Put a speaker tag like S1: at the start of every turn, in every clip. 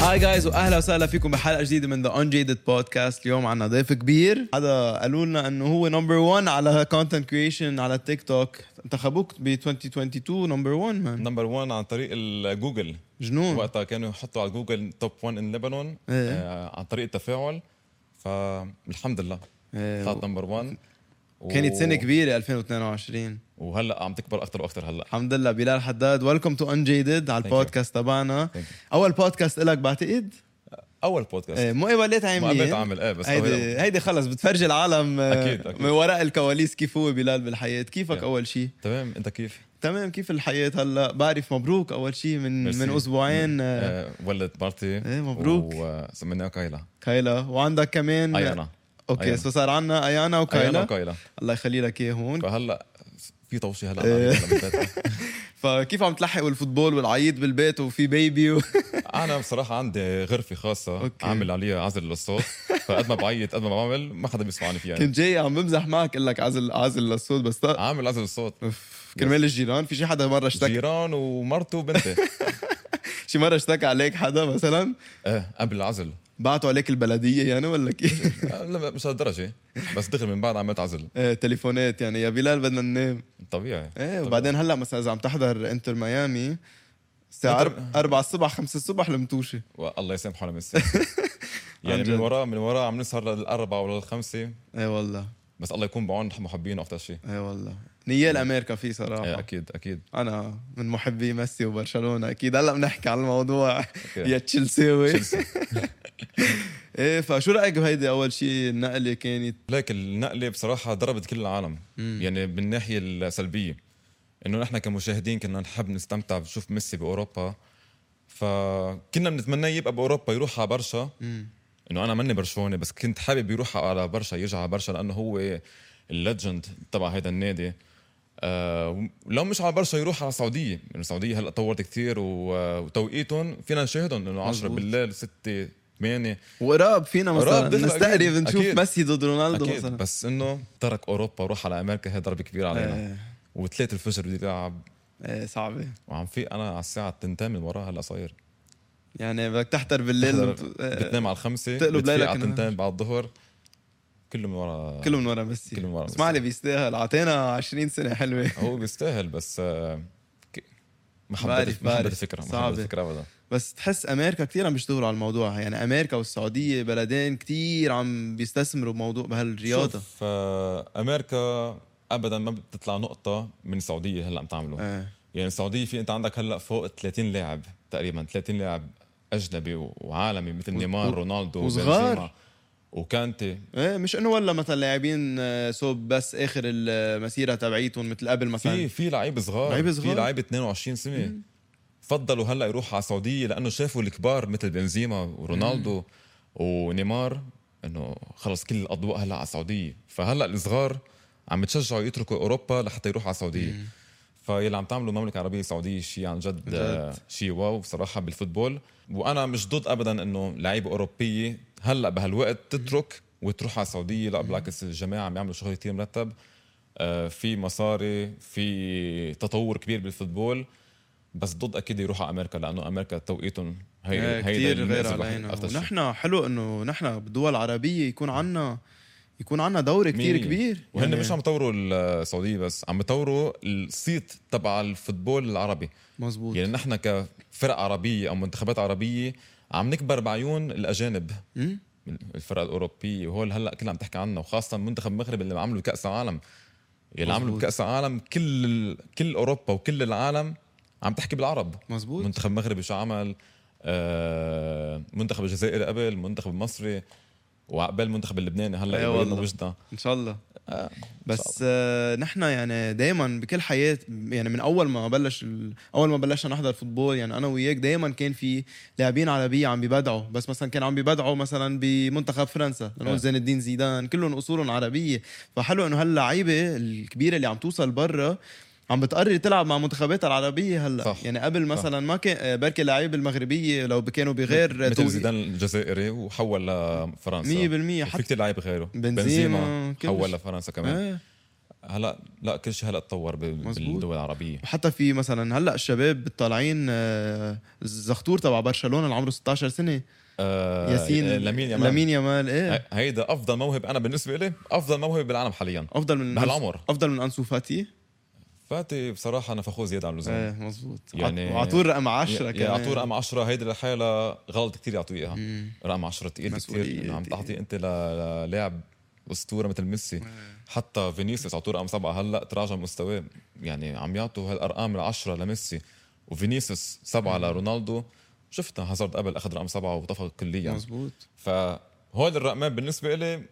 S1: هاي جايز واهلا وسهلا فيكم بحلقه جديده من ذا انجيدد بودكاست اليوم عنا ضيف كبير حدا قالوا لنا انه هو نمبر 1 على كونتنت كريشن على تيك توك انتخبوك ب 2022 نمبر 1 مان
S2: نمبر 1 عن طريق الجوجل
S1: جنون
S2: وقتها كانوا يحطوا على جوجل توب 1 ان لبنان
S1: إيه.
S2: آه، عن طريق التفاعل فالحمد لله
S1: إيه،
S2: طلعت نمبر 1 و-
S1: كانت سنه كبيره 2022
S2: وهلا عم تكبر اكثر واكثر هلا
S1: الحمد لله بلال حداد ويلكم تو انجيدد على
S2: Thank you.
S1: البودكاست تبعنا
S2: Thank you.
S1: اول بودكاست لك بعتقد
S2: اول بودكاست
S1: إيه، مقابلات عاملين
S2: مقابلات عامل ايه بس
S1: هيدي هيدي خلص بتفرجي العالم آه،
S2: أكيد، أكيد.
S1: من وراء الكواليس كيف هو بلال بالحياه كيفك
S2: Yeah.
S1: اول شيء
S2: تمام انت كيف؟
S1: تمام كيف الحياة هلا بعرف مبروك أول شيء من
S2: ميرسي.
S1: من أسبوعين آه،
S2: آه، ولدت بارتي
S1: إيه، مبروك. إيه.
S2: وسميناها كايلا
S1: كايلا وعندك كمان
S2: ايانا
S1: أوكي
S2: أيانا.
S1: سو صار عنا أيانا
S2: ايانا
S1: وكايلا
S2: وكايلا
S1: الله يخلي لك إياه هون
S2: فهلا في طوشي هلا
S1: إيه.
S2: على البيت لما فاتت.
S1: فكيف عم تلحق والفوتبول والعيط بالبيت وفي بيبي و...
S2: انا بصراحه عندي غرفه خاصه
S1: أوكي.
S2: أوكي. عامل عليها عزل للصوت فقد ما بعيط قد ما بعمل ما حدا بيسمعني فيها يعني.
S1: كنت جاي عم بمزح معك قلك عزل عزل للصوت بس طق.
S2: عامل عزل الصوت
S1: أوف، كرمال الجيران في شي حدا مرة اشتكى
S2: جيران ومرته وبنتي
S1: شي مرة اشتكى عليك حدا مثلا
S2: ايه قبل العزل
S1: بعتوا عليك البلدية يعني ولا كيف
S2: آه، لا مش هالدرجه بس دغري من بعد عملت عزل
S1: آه، تليفونات يعني يا بلال بدنا ننام
S2: طبيعي
S1: ايه
S2: طبيعي.
S1: وبعدين هلا مثلا اذا عم تحضر انتر ميامي الساعة
S2: إنتر-
S1: 4 الصبح 5 الصبح المتوشة
S2: الله يسامحه لميسي يعني
S1: عن جد.
S2: من وراه من وراه عم نسهر للاربعه ولا للخمسه
S1: ايه والله
S2: بس الله يكون بعون محبينه اكثر شيء
S1: ايه والله نيال امريكا في صراحة
S2: ايه اكيد اكيد
S1: انا من محبي ميسي وبرشلونة اكيد هلا بنحكي على الموضوع يا
S2: أوكي.
S1: تشيلساوي
S2: تشيلسي.
S1: ايه فشو رايك بهيدي اول شيء النقلة كانت
S2: ليك النقله بصراحه ضربت كل العالم يعني بالناحيه السلبيه انه نحن كمشاهدين كنا نحب نستمتع بنشوف ميسي باوروبا فكنا بنتمنى يبقى باوروبا يروح على برشا انه انا ماني برشلوني بس كنت حابب يروح على برشا يرجع على برشا لانه هو الليجند تبع هذا النادي آه لو مش على برشا يروح على السعوديه لأنه السعوديه هلا طورت كثير وتوقيتهم فينا نشاهدهم انه 10
S1: مزبوط.
S2: بالليل 6 8
S1: وقراب فينا
S2: قراب
S1: مثلا
S2: دغري
S1: نستقرب
S2: أكيد.
S1: نشوف
S2: أكيد.
S1: ميسي ضد رونالدو
S2: اكيد
S1: مثلا
S2: بس انه ترك اوروبا وروح على امريكا هي ضربه كبيره علينا
S1: ايه
S2: وثلاثة الفجر بدي العب
S1: ايه صعبة
S2: وعم آه، في انا على الساعه 2 من وراه هلا صاير
S1: يعني بدك تحضر بالليل
S2: بتحضر-
S1: إيه،
S2: بتنام على الخمسة
S1: بتقلب
S2: بتفيق
S1: ليلك
S2: على
S1: إنه-
S2: 2 بعد الظهر كله من ورا
S1: كله من ورا ميسي
S2: كله من ورا ميسي.
S1: اسمع لي بيستاهل اعطينا 20 سنه حلوه
S2: هو بيستاهل بس آه، ك- ما
S1: بعرف-
S2: حبيت ما حبيت
S1: بعرف.
S2: الفكره ما
S1: صعبة.
S2: حبيت الفكره ابدا
S1: بس تحس امريكا كثير عم بيشتغلوا على الموضوع يعني امريكا والسعوديه بلدين كثير عم بيستثمروا بموضوع بهالرياضه
S2: شوف، آه، امريكا ابدا ما بتطلع نقطه من السعوديه هلا عم تعمله
S1: ايه
S2: يعني السعوديه في انت عندك هلا فوق 30 لاعب تقريبا 30 لاعب اجنبي و- وعالمي مثل
S1: و-
S2: نيمار
S1: و-
S2: رونالدو
S1: وصغار.
S2: بنزيما، وكانتي
S1: ايه مش انه والله مثلا لاعبين آه، صوب بس اخر المسيره تبعيتهم مثل قبل مثلا
S2: في في لعيب صغار
S1: لعيبة صغار.
S2: في لعيب 22 سنه فضلوا هلا يروحوا على السعوديه لانه شافوا الكبار مثل بنزيما ورونالدو ونيمار انه خلص كل الاضواء هلا على السعوديه فهلا الصغار عم بتشجعوا يتركوا اوروبا لحتى يروحوا على السعوديه فيلي عم تعملوا المملكه العربيه السعوديه شيء عن جد, آه، شيء واو بصراحه بالفوتبول وانا مش ضد ابدا انه لعيبه اوروبيه هلا بهالوقت تترك وتروح على السعوديه لا بالعكس الجماعه عم يعملوا شغل كثير مرتب آه، في مصاري في تطور كبير بالفوتبول بس ضد اكيد يروح على امريكا لانه امريكا توقيتهم هي
S1: آه،
S2: هيدا
S1: كتير
S2: الناس
S1: غير
S2: الوحيد-
S1: علينا
S2: أكتر شي.
S1: ونحن حلو انه نحن بالدول العربيه يكون عنا يكون عنا دور كثير
S2: مية مية.
S1: كبير
S2: وهن
S1: يعني
S2: مش عم يطوروا السعوديه بس عم يطوروا الصيت تبع الفوتبول العربي
S1: مزبوط
S2: يعني نحن كفرق عربيه او منتخبات عربيه عم نكبر بعيون الاجانب
S1: مم؟
S2: الفرق الاوروبيه وهول هلا كلها عم تحكي عنها وخاصه منتخب المغرب اللي عملوا كاس العالم اللي عملوا
S1: مظبوط.
S2: بكاس العالم كل ال- كل اوروبا وكل العالم عم تحكي بالعرب
S1: مزبوط
S2: منتخب مغربي شو عمل آه، منتخب الجزائري قبل منتخب المصري وعقبال المنتخب اللبناني هلا
S1: إيه
S2: قريب
S1: والله.
S2: وجدنا
S1: ان شاء الله
S2: آه،
S1: بس آه نحن يعني دائما بكل حياة يعني من اول ما بلش ال- اول ما بلشنا نحضر فوتبول يعني انا وياك دائما كان في لاعبين عربيه عم ببدعوا بس مثلا كان عم ببدعوا مثلا بمنتخب فرنسا لنقول
S2: آه.
S1: زين الدين زيدان كلهم اصولهم عربيه فحلو انه هاللعيبه الكبيره اللي عم توصل برا عم بتقرر تلعب مع منتخباتها العربيه هلا
S2: صح.
S1: يعني قبل
S2: صح.
S1: مثلا ما كان آه، بركي اللعيبه المغربيه لو كانوا بغير
S2: مثل زيدان الجزائري وحول لفرنسا يعني
S1: 100%
S2: في
S1: حتى
S2: كثير لعيبه غيره
S1: بنزيما،
S2: بنزيما
S1: كلش.
S2: حول لفرنسا كمان
S1: آه.
S2: هلا لا كل شيء هلا تطور بال-
S1: مزبوط.
S2: بالدول العربيه
S1: وحتى في مثلا هلا الشباب طالعين آه، الزغطور تبع برشلونه اللي عمره 16 سنه
S2: آه،
S1: ياسين
S2: آه، لمين يامال آه،
S1: لمين يامال ايه
S2: ه- هيدا افضل موهب انا بالنسبه لي افضل موهب بالعالم حاليا
S1: افضل من
S2: بهالعمر.
S1: افضل من انسو فاتي
S2: فاتي بصراحه انا فخور زياده عن اللزوم
S1: ايه مزبوط
S2: آه. يعني-
S1: يعني وعطور رقم 10
S2: يا-
S1: كمان
S2: يا اعطوه رقم 10 هيدي لحالها غلط كثير يعطوه اياها
S1: مم.
S2: رقم 10 تقيل
S1: مسؤولية
S2: كثير إنه عم
S1: تقيل.
S2: تعطي انت ل- للاعب اسطوره مثل ميسي حتى فينيسيوس اعطوه رقم سبعه هلا تراجع مستواه يعني عم يعطوا هالارقام العشره لميسي وفينيسيوس سبعه لرونالدو شفنا هازارد قبل اخذ رقم سبعه وطفق كليا
S1: مزبوط
S2: فهول الرقمين بالنسبه لي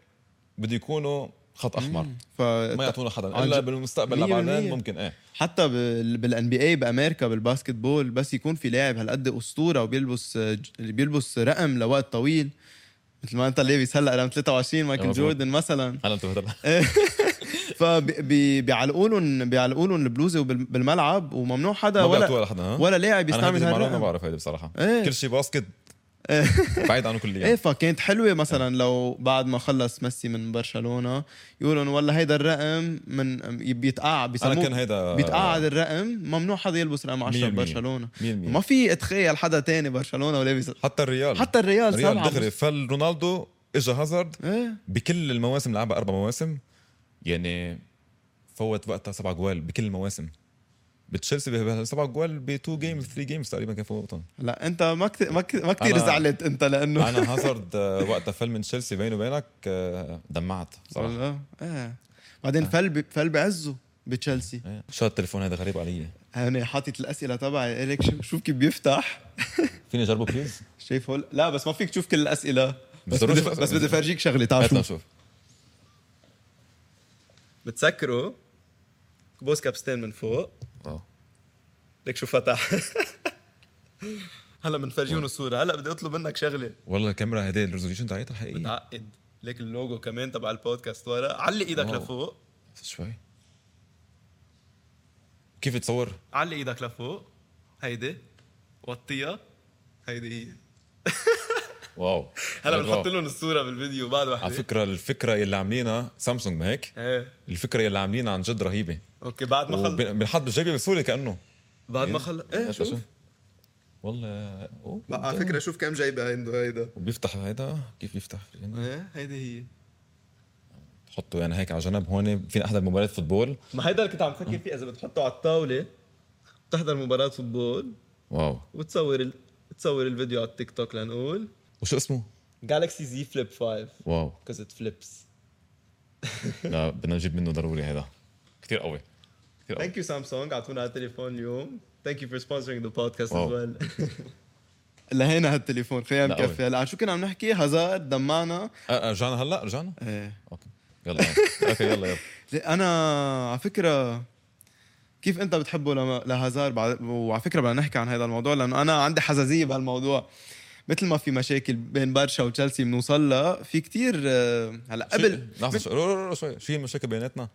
S2: بده يكونوا خط احمر ما
S1: ف
S2: يعطونا حدا
S1: عن
S2: الا
S1: جد.
S2: بالمستقبل
S1: مية
S2: لبعدين
S1: بالمية.
S2: ممكن ايه
S1: حتى بالان بي اي بامريكا بالباسكت بول بس يكون في لاعب هالقد اسطوره وبيلبس آه، بيلبس رقم لوقت طويل مثل ما انت لابس هلا رقم 23 مايكل
S2: مظبوط.
S1: جوردن مثلا
S2: هلا انتم هدلا
S1: فبيعلقوا لهم بيعلقوا لهم البلوزه وبال- بالملعب وممنوع حدا
S2: ما
S1: ولا
S2: بيعطوها لحدا ها
S1: ولا لاعب
S2: انا
S1: يستعمل
S2: هيدي المعلومه ما
S1: هالرقم
S2: بعرف هيدي بصراحه
S1: إيه.
S2: كل شيء باسكت بعيد عنه كليا
S1: ايه فكانت حلوه مثلا لو بعد ما خلص ميسي من برشلونه يقولوا والله هيدا الرقم من بيتقعد
S2: انا كان
S1: بيسموه
S2: هيدا
S1: بيتقعد الرقم ممنوع حدا يلبس رقم 10
S2: مية بالمية.
S1: ببرشلونه
S2: 100%
S1: ما في اتخيل حدا تاني برشلونه ولابس
S2: حتى الريال
S1: حتى الريال
S2: الريال
S1: سبعه
S2: دغري فل رونالدو اجى هازارد
S1: ايه
S2: بكل المواسم لعبها اربع مواسم يعني فوت وقتها سبع جوال بكل المواسم بتشيلسي بهبل سبع جوال ب 2 جيمز 3 جيمز تقريبا كان فوتهم
S1: لا انت ما كت... ما, كت... ما كتير
S2: أنا-
S1: زعلت انت لانه
S2: انا هازارد آه، وقتها فل من تشيلسي بيني وبينك آه، دمعت صراحه
S1: والله ايه
S2: آه.
S1: بعدين فل ب... فل بعزه بتشيلسي
S2: إيه. شو التليفون هذا غريب علي
S1: انا حاطط الاسئله تبعي اليك شوف, شوف كيف بيفتح
S2: فيني اجربه بليز
S1: شايف هول لا بس ما فيك تشوف كل الاسئله
S2: مش
S1: بس
S2: ضروري
S1: بدي
S2: شوف
S1: بس بدي افرجيك شغله تعال
S2: هات
S1: شوف
S2: نشوف
S1: بتسكروا كبوس كابستين من فوق
S2: آه.
S1: ليك شو فتح هلا بنفرجيهم الصوره هلا بدي اطلب منك شغله
S2: والله الكاميرا هدي الريزوليوشن تاعتها الحقيقيه
S1: متعقد ليك اللوجو كمان تبع البودكاست ورا علق ايدك
S2: واو.
S1: لفوق
S2: شوي كيف تصور
S1: علق ايدك لفوق هيدي وطيها هيدي هي
S2: واو
S1: هلا
S2: واو.
S1: بنحط لهم الصوره بالفيديو بعد وحده
S2: على فكره الفكره اللي عاملينها سامسونج ما هيك
S1: ايه
S2: الفكره اللي عاملينها عن جد رهيبه
S1: اوكي بعد ما خلص
S2: وبنحط بجيبي بسهوله كانه
S1: بعد ما خلص
S2: إيه،
S1: ايه شوف
S2: والله أوه.
S1: بقى على فكره شوف كم جايبه عنده هيدا
S2: وبيفتح هيدا كيف يفتح هنا
S1: ايه هيدي هي
S2: تحطه يعني هيك على جنب هون فينا احضر مباريات فوتبول
S1: ما هيدا اللي كنت عم فكر فيه اذا بتحطه على الطاوله بتحضر مباراه فوتبول
S2: واو
S1: وتصور ال... تصور الفيديو على التيك توك لنقول
S2: وشو اسمه؟
S1: جالكسي زي فليب 5
S2: واو
S1: كوز ات فليبس
S2: لا بدنا نجيب منه ضروري هيدا كثير قوي كثير قوي
S1: ثانك يو سامسونج اعطونا على التليفون اليوم ثانك يو فور سبونسرينج ذا بودكاست
S2: واو.
S1: لهينا هالتليفون خلينا
S2: لا قوي.
S1: نكفي هلا عن شو كنا عم نحكي هزار دمعنا
S2: آه، آه، رجعنا هلا رجعنا
S1: ايه
S2: اوكي يلا اوكي يلا يلا
S1: انا على فكره كيف انت بتحبه لما- لهازار بعد- وعلى فكره بدنا نحكي عن هذا الموضوع لانه انا عندي حزازيه بهالموضوع مثل ما في مشاكل بين برشا وتشيلسي بنوصل لها في كتير آه، هلا قبل
S2: شي- لحظه شوي رو- رو- رو- شوي شو هي المشاكل بيناتنا؟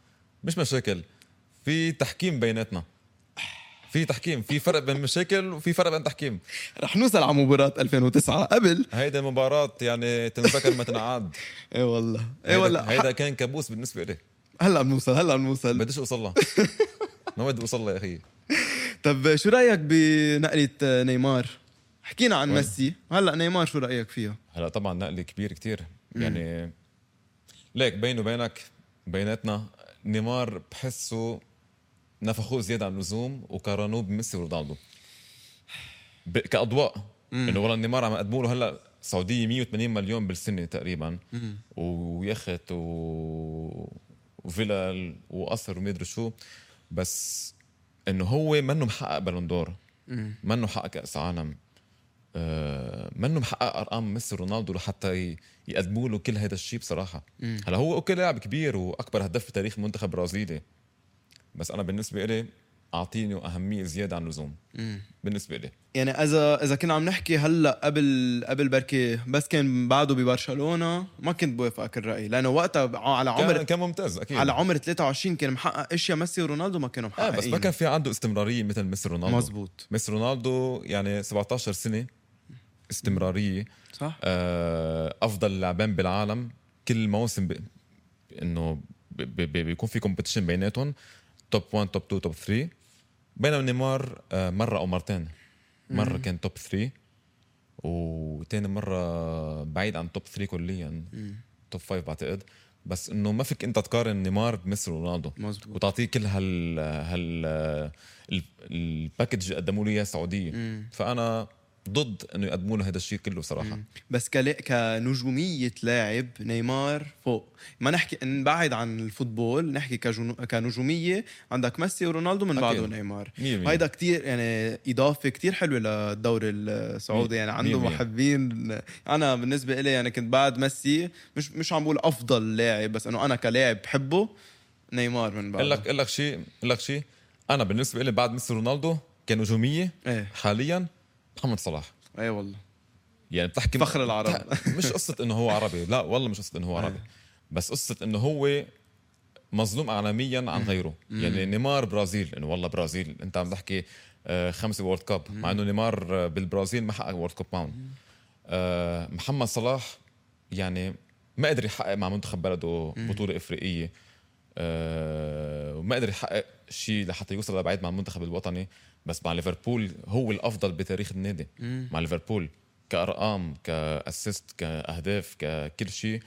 S2: مش مشاكل في تحكيم بيناتنا في تحكيم في فرق بين مشاكل وفي فرق بين تحكيم
S1: رح نوصل على مباراه 2009 قبل
S2: هيدا مباراة يعني تنذكر ما تنعاد
S1: ايه والله ايه
S2: هيدا-
S1: والله
S2: هيدا كان كابوس بالنسبة لي
S1: هلا بنوصل هلا بنوصل
S2: بديش اوصل لها ما بدي اوصل لها يا اخي
S1: طب شو رايك بنقله آه، نيمار حكينا عن ميسي هلا نيمار شو رايك فيها
S2: هلا طبعا نقلة كبير كتير يعني ليك بيني وبينك بيناتنا نيمار بحسه نفخوه زيادة عن اللزوم وقارنوه بميسي ورونالدو ب- كأضواء انه والله نيمار عم يقدموا له هلا السعودية 180 مليون بالسنة تقريبا ويخت و وفيلل وقصر ومدري شو بس انه هو منه محقق بالون دور منه محقق كأس عالم آه، منه محقق ارقام ميسي رونالدو لحتى ي- يقدموا له كل هذا الشيء بصراحه هلا هو اوكي لاعب كبير واكبر هداف في تاريخ المنتخب البرازيلي بس انا بالنسبه لي اعطيني اهميه زياده عن اللزوم بالنسبه لي
S1: يعني اذا اذا كنا عم نحكي هلا قبل قبل بركي بس كان بعده ببرشلونه ما كنت بوافقك الراي لانه وقتها على
S2: كان,
S1: عمر
S2: كان ممتاز اكيد
S1: على عمر 23 كان محقق اشياء ميسي ورونالدو ما كانوا
S2: آه
S1: محققين
S2: بس ما كان في عنده استمراريه مثل ميسي رونالدو
S1: مزبوط
S2: ميسي رونالدو يعني 17 سنه استمراريه
S1: صح
S2: آه، افضل لاعبين بالعالم كل موسم ب... انه ب- ب- بيكون في كومبيتيشن بيناتهم توب 1 توب 2 توب 3 بينما نيمار آه، مره او مرتين مره كان توب 3 وتاني مره بعيد عن توب 3 كليا توب 5 بعتقد بس انه ما فيك انت تقارن نيمار بميسي رونالدو
S1: مزبوط
S2: وتعطيه كل هال هال آه، ال- الباكج اللي قدموا لي اياه السعوديه
S1: مم.
S2: فانا ضد انه يقدموا له هذا الشيء كله صراحه
S1: مم. بس كلا- كنجومية لاعب نيمار فوق ما نحكي نبعد عن الفوتبول نحكي كجنو... كنجومية عندك ميسي ورونالدو من بعده
S2: أكيد.
S1: نيمار
S2: مية مية.
S1: هيدا كتير يعني إضافة كتير حلوة للدوري السعودي يعني عنده
S2: مية مية.
S1: محبين أنا بالنسبة إلي يعني كنت بعد ميسي مش مش عم بقول أفضل لاعب بس إنه أنا كلاعب بحبه نيمار من بعده
S2: اقول لك اقول لك شيء اقول لك شيء انا بالنسبه لي بعد ميسي رونالدو كنجوميه
S1: إيه
S2: حاليا محمد صلاح
S1: إيه والله
S2: يعني بتحكي
S1: فخر العرب. آه.
S2: بتح- مش قصه انه هو عربي لا والله مش قصه انه هو عربي بس قصه انه هو مظلوم اعلاميا عن غيره يعني نيمار برازيل انه والله برازيل انت عم تحكي آه، خمسه وورلد كاب مع انه نيمار آه، بالبرازيل ما حقق وورلد كاب معهم آه، محمد صلاح يعني ما قدر يحقق مع منتخب بلده بطوله افريقيه آه، وما قدر يحقق شيء لحتى يوصل لبعيد مع المنتخب الوطني بس مع ليفربول هو الافضل بتاريخ النادي
S1: مم.
S2: مع ليفربول كارقام كاسيست كاهداف ككل شيء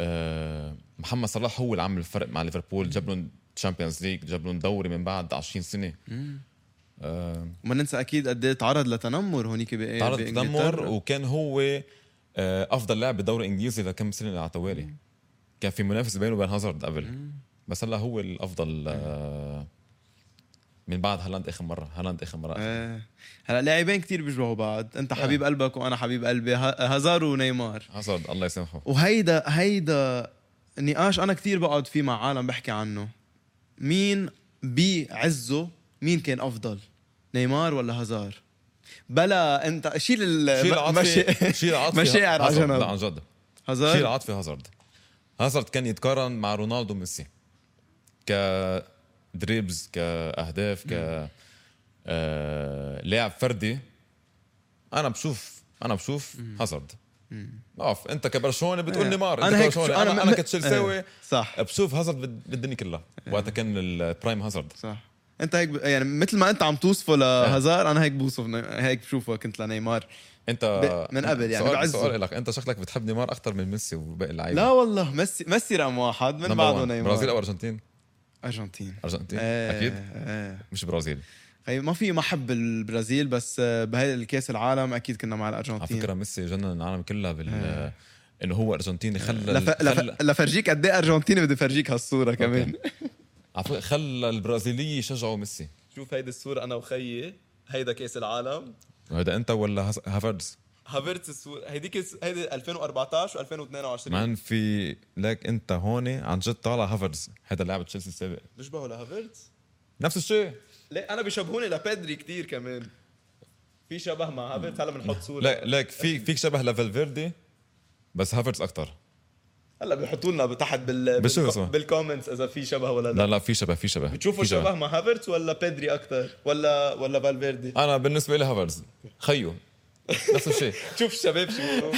S2: آه، محمد صلاح هو اللي عمل الفرق مع ليفربول جاب لهم تشامبيونز ليج جاب لهم دوري من بعد 20 سنه
S1: إيه،
S2: آه،
S1: وما ننسى أكيد قد إيه تعرض لتنمر هونيك بإيه
S2: تعرض
S1: بإنجلترا.
S2: تدمر وكان هو آه، افضل لاعب بالدوري الانجليزي لكم سنه على التوالي كان في منافس بينه وبين هازارد قبل بس هلا هو الافضل آه، من بعد هالاند اخر مره هالاند اخر مره آخر.
S1: ايه هلا لاعبين كتير بيشبهوا بعض
S2: إيه.
S1: انت حبيب قلبك وانا حبيب قلبي ه- هازار ونيمار
S2: هازارد الله يسامحه
S1: وهيدا هيدا نقاش انا كتير بقعد فيه مع عالم بحكي عنه مين بعزه مين كان افضل نيمار ولا هازار بلا انت شيل ال
S2: شيل
S1: مشا-
S2: عاطفي شيل عاطفي
S1: مشاعر على
S2: هازارد.
S1: جنب.
S2: لا عن جد شيل
S1: هازار
S2: عاطفي هازارد هازارد كان يتقارن مع رونالدو وميسي كدريبز كاهداف ك آه، لاعب فردي انا بشوف انا بشوف هازارد اوف انت كبرشلونه بتقول
S1: إيه.
S2: نيمار انت
S1: أنا هيك
S2: كبرشلونه
S1: شو- أنا
S2: انا
S1: م-
S2: انا
S1: م- آه.
S2: كتشيلساوي
S1: إيه. صح
S2: بشوف هازارد بال- بالدنيا كلها وقتها كان البرايم هازارد
S1: صح انت هيك ب- يعني مثل ما انت عم توصفه لهازار انا هيك بوصف ني- هيك بشوفه كنت لنيمار
S2: انت
S1: ب- من قبل يعني
S2: آه. سؤال,
S1: بعزه.
S2: سؤال لك انت شكلك بتحب نيمار اكثر من ميسي وباقي اللعيبه
S1: لا والله ميسي ميسي رقم واحد من
S2: إيه. Number
S1: بعده
S2: one.
S1: نيمار
S2: برازيل او ارجنتين؟
S1: ارجنتين
S2: ارجنتين
S1: ايه
S2: اكيد
S1: ايه
S2: مش برازيل
S1: هي طيب، ما في محب البرازيل بس آه، بهاي الكاس العالم اكيد كنا مع
S2: على
S1: الارجنتين
S2: فكره ميسي جنن العالم كلها
S1: آه.
S2: بال انه هو ارجنتيني خلى
S1: لف...
S2: خلى
S1: لف... لفرجيك قد ايه ارجنتيني بدي فرجيك هالصوره كمان
S2: على فكرة خلى البرازيليه يشجعوا ميسي
S3: شوف هيدي الصورة أنا وخيي هيدا كأس العالم
S2: هذا انت ولا هس- هافرز
S3: هافرتس الصورة هيديك الس- هيدي 2014 و2022
S2: مان في لك انت هون عن جد طالع هافرز هذا لاعب تشيلسي السابق
S3: بيشبهوا لهافرتس؟
S2: نفس الشيء
S3: ليه أنا بيشبهوني لبيدري كتير كمان في شبه مع هافرتس هلا بنحط صورة
S2: لك لك في فيك شبه لفالفيردي بس هافرز اكثر
S3: هلا بيحطوا لنا تحت بال
S2: بشوف
S3: بالكو-
S2: اسمه.
S3: بالكومنتس إذا في شبه ولا لا
S2: لا لا في شبه في شبه
S3: بتشوفوا
S2: في
S3: شبه مع هافرتس ولا بيدري أكتر ولا ولا فالفيردي
S2: انا بالنسبه لي هافرز خيو نفس الشيء
S3: شوف الشباب شو بيقولوا.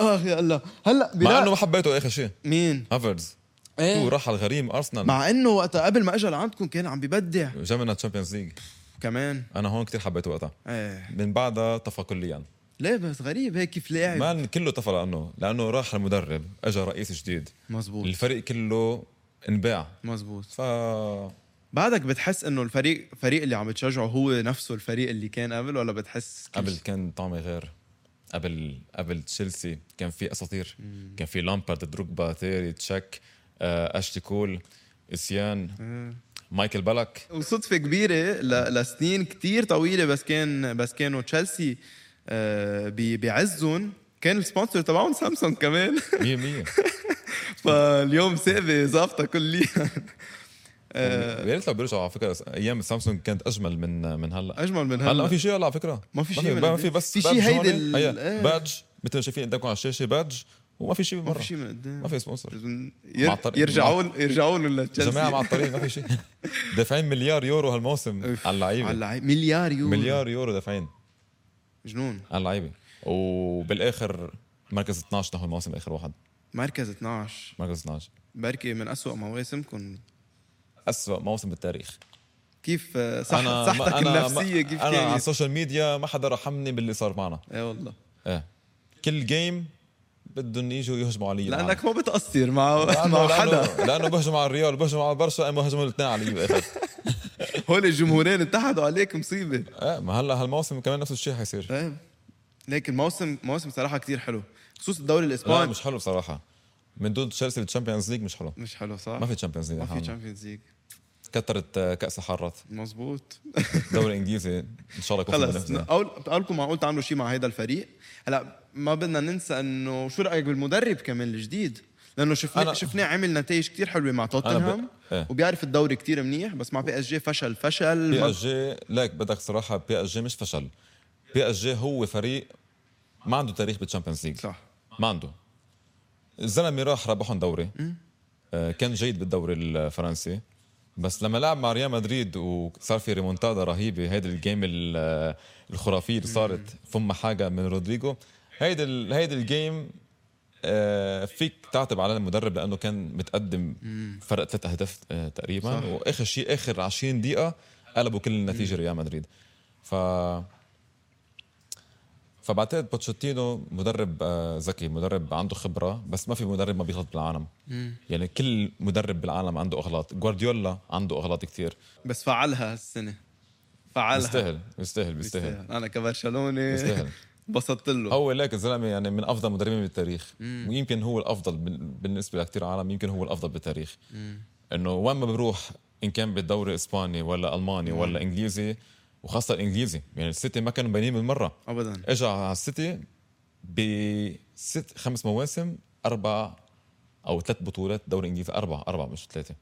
S1: اخ يا الله هلا
S2: مع انه
S1: بلا
S2: ما حبيته اخر شيء
S1: مين
S2: هافرز
S1: إيه.
S2: هو راح على الغريم ارسنال
S1: مع انه وقتها قبل ما اجى لعندكم كان عم ببدع
S2: جابنا تشامبيونز ليج
S1: كمان
S2: انا هون كثير حبيته وقتها
S1: ايه
S2: من بعدها طفى كليا
S1: ليه بس غريب هيك كيف لاعب
S2: مان كله طفى لانه لانه راح المدرب اجى رئيس جديد
S1: مزبوط
S2: الفريق كله انباع
S1: مزبوط
S2: ف
S1: بعدك بتحس انه الفريق الفريق اللي عم بتشجعه هو نفسه الفريق اللي كان قبل ولا بتحس كل
S2: قبل
S1: شي؟
S2: كان طعمه غير قبل قبل تشيلسي كان في اساطير كان في لامبارد دروجبا تيري تشك آه، اشلي كول اسيان
S1: إيه.
S2: مايكل بالك
S1: وصدفة كبيرة ل... لسنين كتير طويلة بس كان بس كانوا تشيلسي آه، ب... بعزهم كان السبونسر تبعهم سامسونج كمان
S2: 100%
S1: فاليوم سابي ظابطة كليا
S2: يا ريت لو بيرجعوا على فكره ايام سامسونج كانت اجمل من من هلا
S1: أجمل من
S2: هلا ما
S1: هلا
S2: في شيء هلا على فكره
S1: ما في شيء
S2: ما
S1: من-
S2: في بس
S1: في شيء
S2: بادج
S1: هيدي
S2: هون.
S1: ال-
S2: هي،
S1: آه.
S2: بادج مثل ما شايفين قدامكم على الشاشه بادج وما في شيء
S1: ما في
S2: مره
S1: شيء من قدام
S2: ما في سبونسر مع
S1: ير...
S2: الطريق-
S1: يرجعوا يرجعوا له
S2: جماعه
S1: لتشيلسي
S2: مع الطريق ما في شيء دافعين مليار يورو هالموسم
S1: أوف، على
S2: على اللعيبه
S1: اللعيب مليار يورو
S2: مليار يورو دافعين
S1: جنون
S2: على اللعيبه وبالاخر مركز 12 نحو الموسم اخر واحد
S1: مركز 12
S2: مركز 12
S1: بركي من أسوأ مواسمكم
S2: أسوأ موسم بالتاريخ
S1: كيف آه، صح صحتك
S2: ما-
S1: النفسيه كيف
S2: انا على
S1: كانت؟
S2: السوشيال ميديا ما حدا رحمني باللي صار معنا
S1: ايه والله
S2: ايه كل جيم بدهم يجوا يهجموا علي
S1: لانك ما بتقصر مع
S2: لأنه-
S1: مع حدا
S2: لانه, لأنه بهجم على الريال بهجم على برشا اما هجموا الاثنين علي بالآخر.
S1: هول الجمهورين اتحدوا عليك مصيبه
S2: ايه ما هلا هالموسم كمان نفس الشيء حيصير
S1: ايه لكن موسم موسم صراحه كتير حلو خصوص الدوري
S2: لا
S1: الاسباني
S2: مش حلو بصراحه من دون تشيلسي بالتشامبيونز ليج مش حلو
S1: مش حلو صح؟
S2: ما في تشامبيونز
S1: ما في
S2: ليج
S1: تشامبيونز ليج
S2: كثرت آه، كاس حرت
S1: مزبوط
S2: الدوري الانجليزي ان شاء الله يكون
S1: خلص
S2: في مدافع.
S1: اقول بقولكم معقول تعملوا شيء مع هيدا الفريق هلا ما بدنا ننسى انه شو رايك بالمدرب كمان الجديد لانه شفناه
S2: أنا-
S1: شفناه عمل نتائج كتير حلوه مع
S2: أنا
S1: توتنهام
S2: ب- إيه.
S1: وبيعرف الدوري كتير منيح بس مع بي اس جي فشل فشل
S2: بي
S1: ما-
S2: اس جي ليك بدك صراحه بي اس جي مش فشل بي اس جي هو فريق ما عنده تاريخ بالتشامبيونز ليج
S1: صح
S2: ما عنده الزلمه راح ربحهم دوري آه، كان جيد بالدوري الفرنسي بس لما لعب مع ريال مدريد وصار في ريمونتادا رهيبه هيدي الجيم ال- آه، الخرافيه اللي صارت فما حاجه من رودريجو هيدي ال- هيدي الجيم آه، فيك تعتب على المدرب لانه كان متقدم فرق ثلاث اهداف آه، تقريبا
S1: صح.
S2: واخر شيء اخر 20 دقيقه قلبوا كل النتيجه ريال مدريد ف فبعتقد بوتشيتينو مدرب آه، ذكي مدرب عنده خبره بس ما في مدرب ما بيغلط بالعالم يعني كل مدرب بالعالم عنده اغلاط جوارديولا عنده اغلاط كثير
S1: بس فعلها هالسنه فعلها
S2: بيستاهل بيستاهل بيستاهل
S1: انا كبرشلوني
S2: بيستاهل
S1: انبسطت له
S2: هو ليك الزلمه يعني من افضل مدربين بالتاريخ ويمكن هو الافضل بال- بالنسبه لكثير عالم يمكن هو الافضل بالتاريخ انه وين ما بروح ان كان بالدوري الاسباني ولا الماني ولا انجليزي وخاصه الانجليزي يعني السيتي ما كانوا بنين من مره
S1: ابدا
S2: اجى على السيتي بست خمس مواسم اربع او ثلاث بطولات دوري انجليزي اربع اربع مش ثلاثه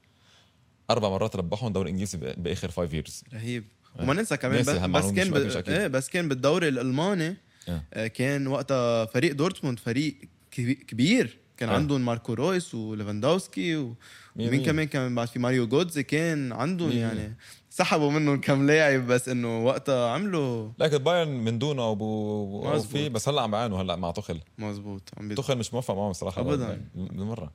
S2: اربع مرات ربحهم دوري انجليزي ب- باخر فايف ييرز
S1: رهيب وما ننسى كمان بس,
S2: إيه. ناسي هم
S1: بس
S2: معلومة
S1: كان
S2: مش
S1: ب...
S2: مأكلش أكيد.
S1: ايه بس كان بالدوري الالماني
S2: آه.
S1: آه، كان وقتها فريق دورتموند فريق كبي- كبير كان
S2: آه.
S1: عندهم ماركو رويس وليفاندوفسكي و-
S2: مية
S1: ومين
S2: مية.
S1: كمان كان بعد في ماريو جودز كان عندهم
S2: مية
S1: يعني سحبوا منهم كم لاعب بس انه وقتها عملوا
S2: لكن بايرن من دونه وبو أو
S1: مزبوط.
S2: في بس هلا عم بعانوا هلا مع تخل
S1: مزبوط عم بيت...
S2: تخل مش موفق معهم صراحه
S1: أبداً.
S2: بالمره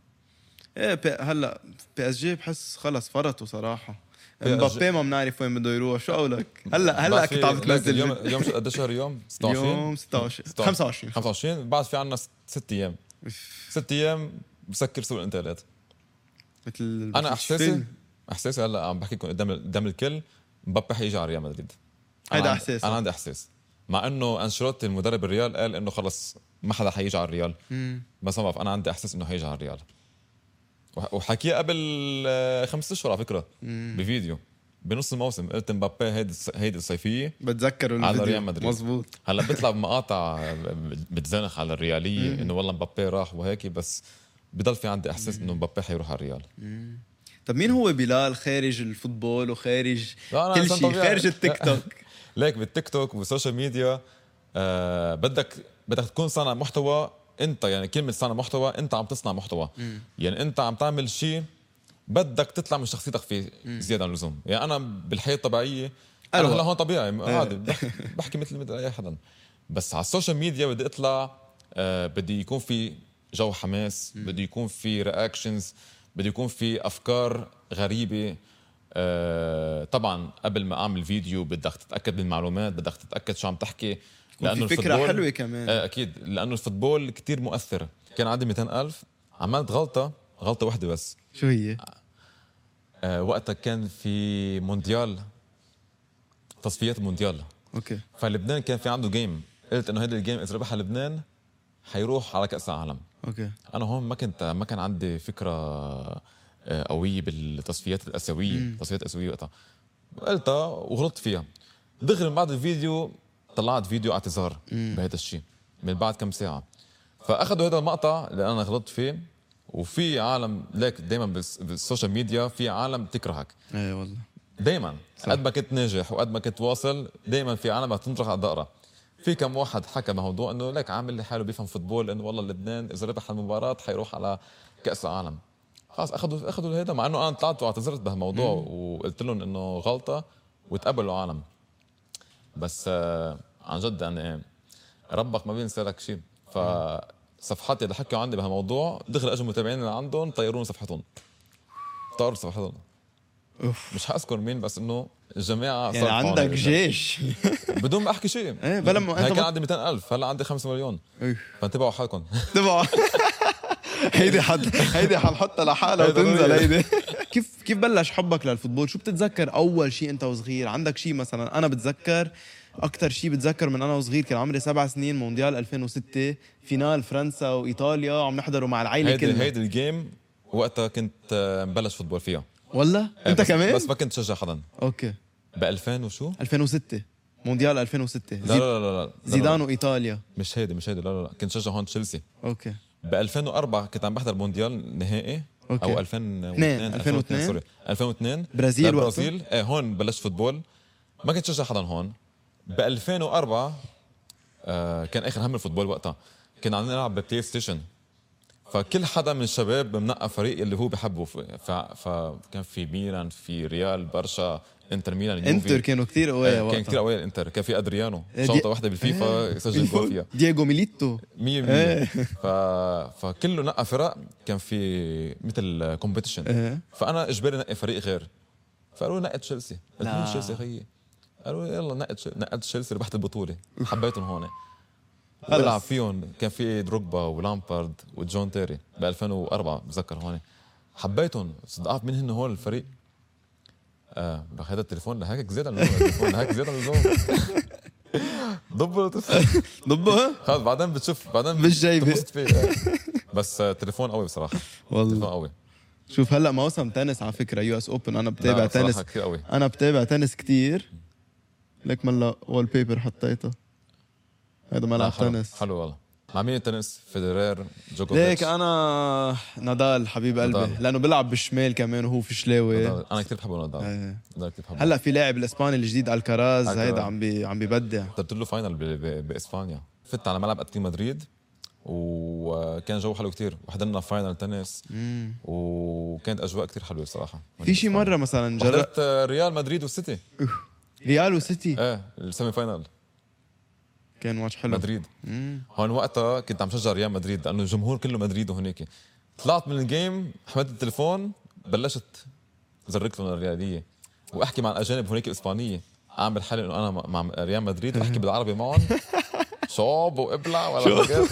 S1: ايه بي... هلا بي اس جي بحس خلص فرطوا صراحه
S2: PSG
S1: مبابي ما بنعرف وين بده يروح شو قولك هلا هلا
S2: بعد في-
S1: كنت عم
S2: لك
S1: تنزل
S2: اليوم اليوم شو- قديش شهر اليوم؟ 26
S1: يوم 16 25
S2: 25 بعد في عندنا ست ايام ست ايام بسكر سوق الانتقالات
S1: مثل
S2: انا احساسي
S1: فيلم.
S2: احساسي هلا عم بحكيكم قدام قدام الكل مبابي حيجي على ريال مدريد أنا
S1: هيدا
S2: عندي-
S1: إحساسك.
S2: انا عندي احساس مع انه انشيلوتي المدرب الريال قال انه خلص ما حدا حيجي على الريال
S1: مم.
S2: بس ما بعرف انا عندي احساس انه حيجي على الريال وح- وحكيه قبل آه، خمس اشهر على فكره بفيديو بنص الموسم قلت مبابي هيدي الص- هيدي الصيفيه
S1: بتذكره
S2: على
S1: الفيديو.
S2: ريال مدريد.
S1: مزبوط
S2: هلا بيطلع بمقاطع آه، بتزنخ على الرياليه انه والله مبابي راح وهيك بس بضل في عندي احساس انه مبابي حيروح على الريال
S1: طب مين هو بلال خارج الفوتبول وخارج
S2: لا، أنا
S1: كل
S2: إنسان
S1: شيء
S2: طبيعي.
S1: خارج التيك توك
S2: ليك بالتيك توك والسوشيال ميديا آه بدك بدك تكون صانع محتوى انت يعني كلمه صانع محتوى انت عم تصنع محتوى يعني انت عم تعمل شيء بدك تطلع من شخصيتك فيه زياده عن اللزوم يعني انا بالحياه الطبيعيه انا
S1: أروق.
S2: هلا هون طبيعي آه، عادي بحكي, بحكي مثل مثل اي حدا بس على السوشيال ميديا بدي اطلع آه بدي يكون في جو حماس بدي يكون في رياكشنز بدي يكون في افكار غريبه آه طبعا قبل ما اعمل فيديو بدك تتاكد من المعلومات بدك تتاكد شو عم تحكي
S1: في فكره
S2: الفوتبول-
S1: حلوه كمان
S2: آه اكيد لانه الفوتبول كتير مؤثر كان عندي 200 الف عملت غلطه غلطه واحده بس
S1: شو هي؟
S2: آه وقتها كان في مونديال تصفيات مونديال
S1: اوكي
S2: فلبنان كان في عنده جيم قلت انه هيدا الجيم اذا ربحها لبنان حيروح على كاس العالم
S1: اوكي
S2: انا هون ما كنت ما كان عندي فكره آه، قويه بالتصفيات الاسيويه التصفيات الاسيويه وقتها قلتها وغلطت فيها دغري من بعد الفيديو طلعت فيديو اعتذار بهذا الشيء من بعد كم ساعه فاخذوا هذا المقطع اللي انا غلطت فيه وفي عالم ليك دائما بالسوشيال ميديا في عالم تكرهك
S1: ايه والله
S2: دائما قد ما كنت ناجح وقد ما كنت واصل دائما في عالم تنطرح على الدقره في كم واحد حكى بموضوع انه لك عامل لي حاله بيفهم فوتبول انه والله لبنان اذا ربح المباراه حيروح على كاس العالم خلاص اخذوا اخذوا هذا مع انه انا طلعت واعتذرت بهالموضوع وقلت لهم انه غلطه وتقبلوا عالم بس آه، عن جد يعني ربك ما بينسى لك شيء ف صفحات اللي حكوا عني بهالموضوع دخل اجوا متابعين لعندهم طيرون صفحتهم طاروا صفحتهم
S1: أوف.
S2: مش حاذكر مين بس انه الجماعه
S1: يعني
S2: صرفوا على
S1: عندك
S2: الإنترنت.
S1: جيش
S2: بدون ما احكي شيء
S1: إيه، بلا ما-
S2: هاي
S1: أنت
S2: كان
S1: ما-
S2: عندي 200000 هلا عندي 5 مليون
S1: إيه.
S2: فانتبهوا حالكم
S1: تبعه هيدي حد هيدي حنحطها لحالها
S2: هيدا
S1: وتنزل
S2: هو.
S1: هيدي كيف كيف بلش حبك للفوتبول شو بتتذكر اول شيء انت وصغير عندك شيء مثلا انا بتذكر اكثر شيء بتذكر من انا وصغير كان عمري سبع سنين مونديال 2006 فينال فرنسا وايطاليا وعم نحضره مع العائله
S2: هيدي
S1: كلها
S2: هيدي الجيم وقتها كنت آه، مبلش فوتبول فيها
S1: والله
S2: آه،
S1: انت
S2: بس-
S1: كمان
S2: بس ما كنت شجع حدا
S1: اوكي
S2: ب 2000 وشو؟
S1: 2006 مونديال 2006
S2: لا لا
S1: زي-
S2: لا لا, لا, لا.
S1: زيدان وايطاليا
S2: مش هيدي مش هيدي لا لا, لا. كنت شجع هون تشيلسي
S1: اوكي
S2: ب 2004 كنت عم بحضر مونديال نهائي
S1: أوكي.
S2: او 2002
S1: اثنين، 2002.
S2: سوري 2002
S1: برازيل وقتها؟
S2: البرازيل ايه هون بلشت فوتبول ما كنت شجع حدا هون ب 2004 آه كان اخر هم الفوتبول وقتها كنا عم نلعب ببلاي ستيشن فكل حدا من الشباب منقى فريق اللي هو بحبه ف... ف... فكان في ميلان في ريال برشا انتر ميلان يوفي.
S1: انتر كانوا كثير قوية
S2: آه، كان كثير
S1: وقتها
S2: قوي الانتر كان في ادريانو
S1: آه، دي-
S2: شوطه واحده بالفيفا سجل جول فيها
S1: دييغو ميليتو إيه.
S2: 100% ف... فكله نقى فرق كان في مثل كومبيتيشن
S1: إيه.
S2: فانا اجباري نقي فريق غير فقالوا لي نقي تشيلسي قلت لهم
S1: لا.
S2: تشيلسي خيي قالوا لي يلا نقي تشيلسي نقيت تشيلسي ربحت البطوله حبيتهم هون
S1: خلص.
S2: بلعب فيهم كان في دروجبا ولامبارد وجون تيري ب 2004 بتذكر هون حبيتهم صدقت مين هن هول الفريق آه رح هذا التليفون لهيك زيادة عن اللزوم التليفون لهيك زيادة عن اللزوم ضبوا التليفون.
S1: ضبها
S2: خلص بعدين بتشوف بعدين
S1: مش جايبة.
S2: بتنبسط فيه بس آه، تليفون قوي بصراحه تليفون
S1: والله
S2: قوي
S1: شوف هلا موسم تنس على فكره يو اس اوبن انا بتابع
S2: لا، بصراحة
S1: تنس
S2: كثير قوي
S1: انا بتابع تنس كتير لك ملا وول بيبر حطيتها هذا
S2: لا،
S1: ملعب
S2: حلو.
S1: تنس
S2: حلو والله مع مين التنس فيدرير جوكوفيتش
S1: ليك آه. انا نادال حبيب قلبي
S2: نادال.
S1: لانه بيلعب بالشمال كمان وهو فشلاوي
S2: نادال. انا كثير بحبه نادال
S1: إيه.
S2: نادال كثير بحبه
S1: هلا في لاعب الاسباني الجديد الكراز
S2: ألكراز.
S1: هيدا عم بي عم ببدع
S2: حضرت له فاينل ب- ب- باسبانيا فت على ملعب اتلتيك مدريد وكان جو حلو كتير وحضرنا فاينل تنس وكانت اجواء كتير حلوه بصراحه
S1: في شي مره مثلا جرب
S2: حضرت آه، ريال مدريد والسيتي
S1: ريال وسيتي
S2: ايه السيمي فاينل
S1: كان ماتش حلو
S2: مدريد هون وقتها كنت عم شجع ريال مدريد لانه الجمهور كله مدريد وهناك طلعت من الجيم حملت التليفون بلشت زرك لهم الرياليه واحكي مع الاجانب هناك اسبانيه اعمل حالي انه انا مع ريال مدريد واحكي بالعربي معهم شعوب وابلع ولا حاجات.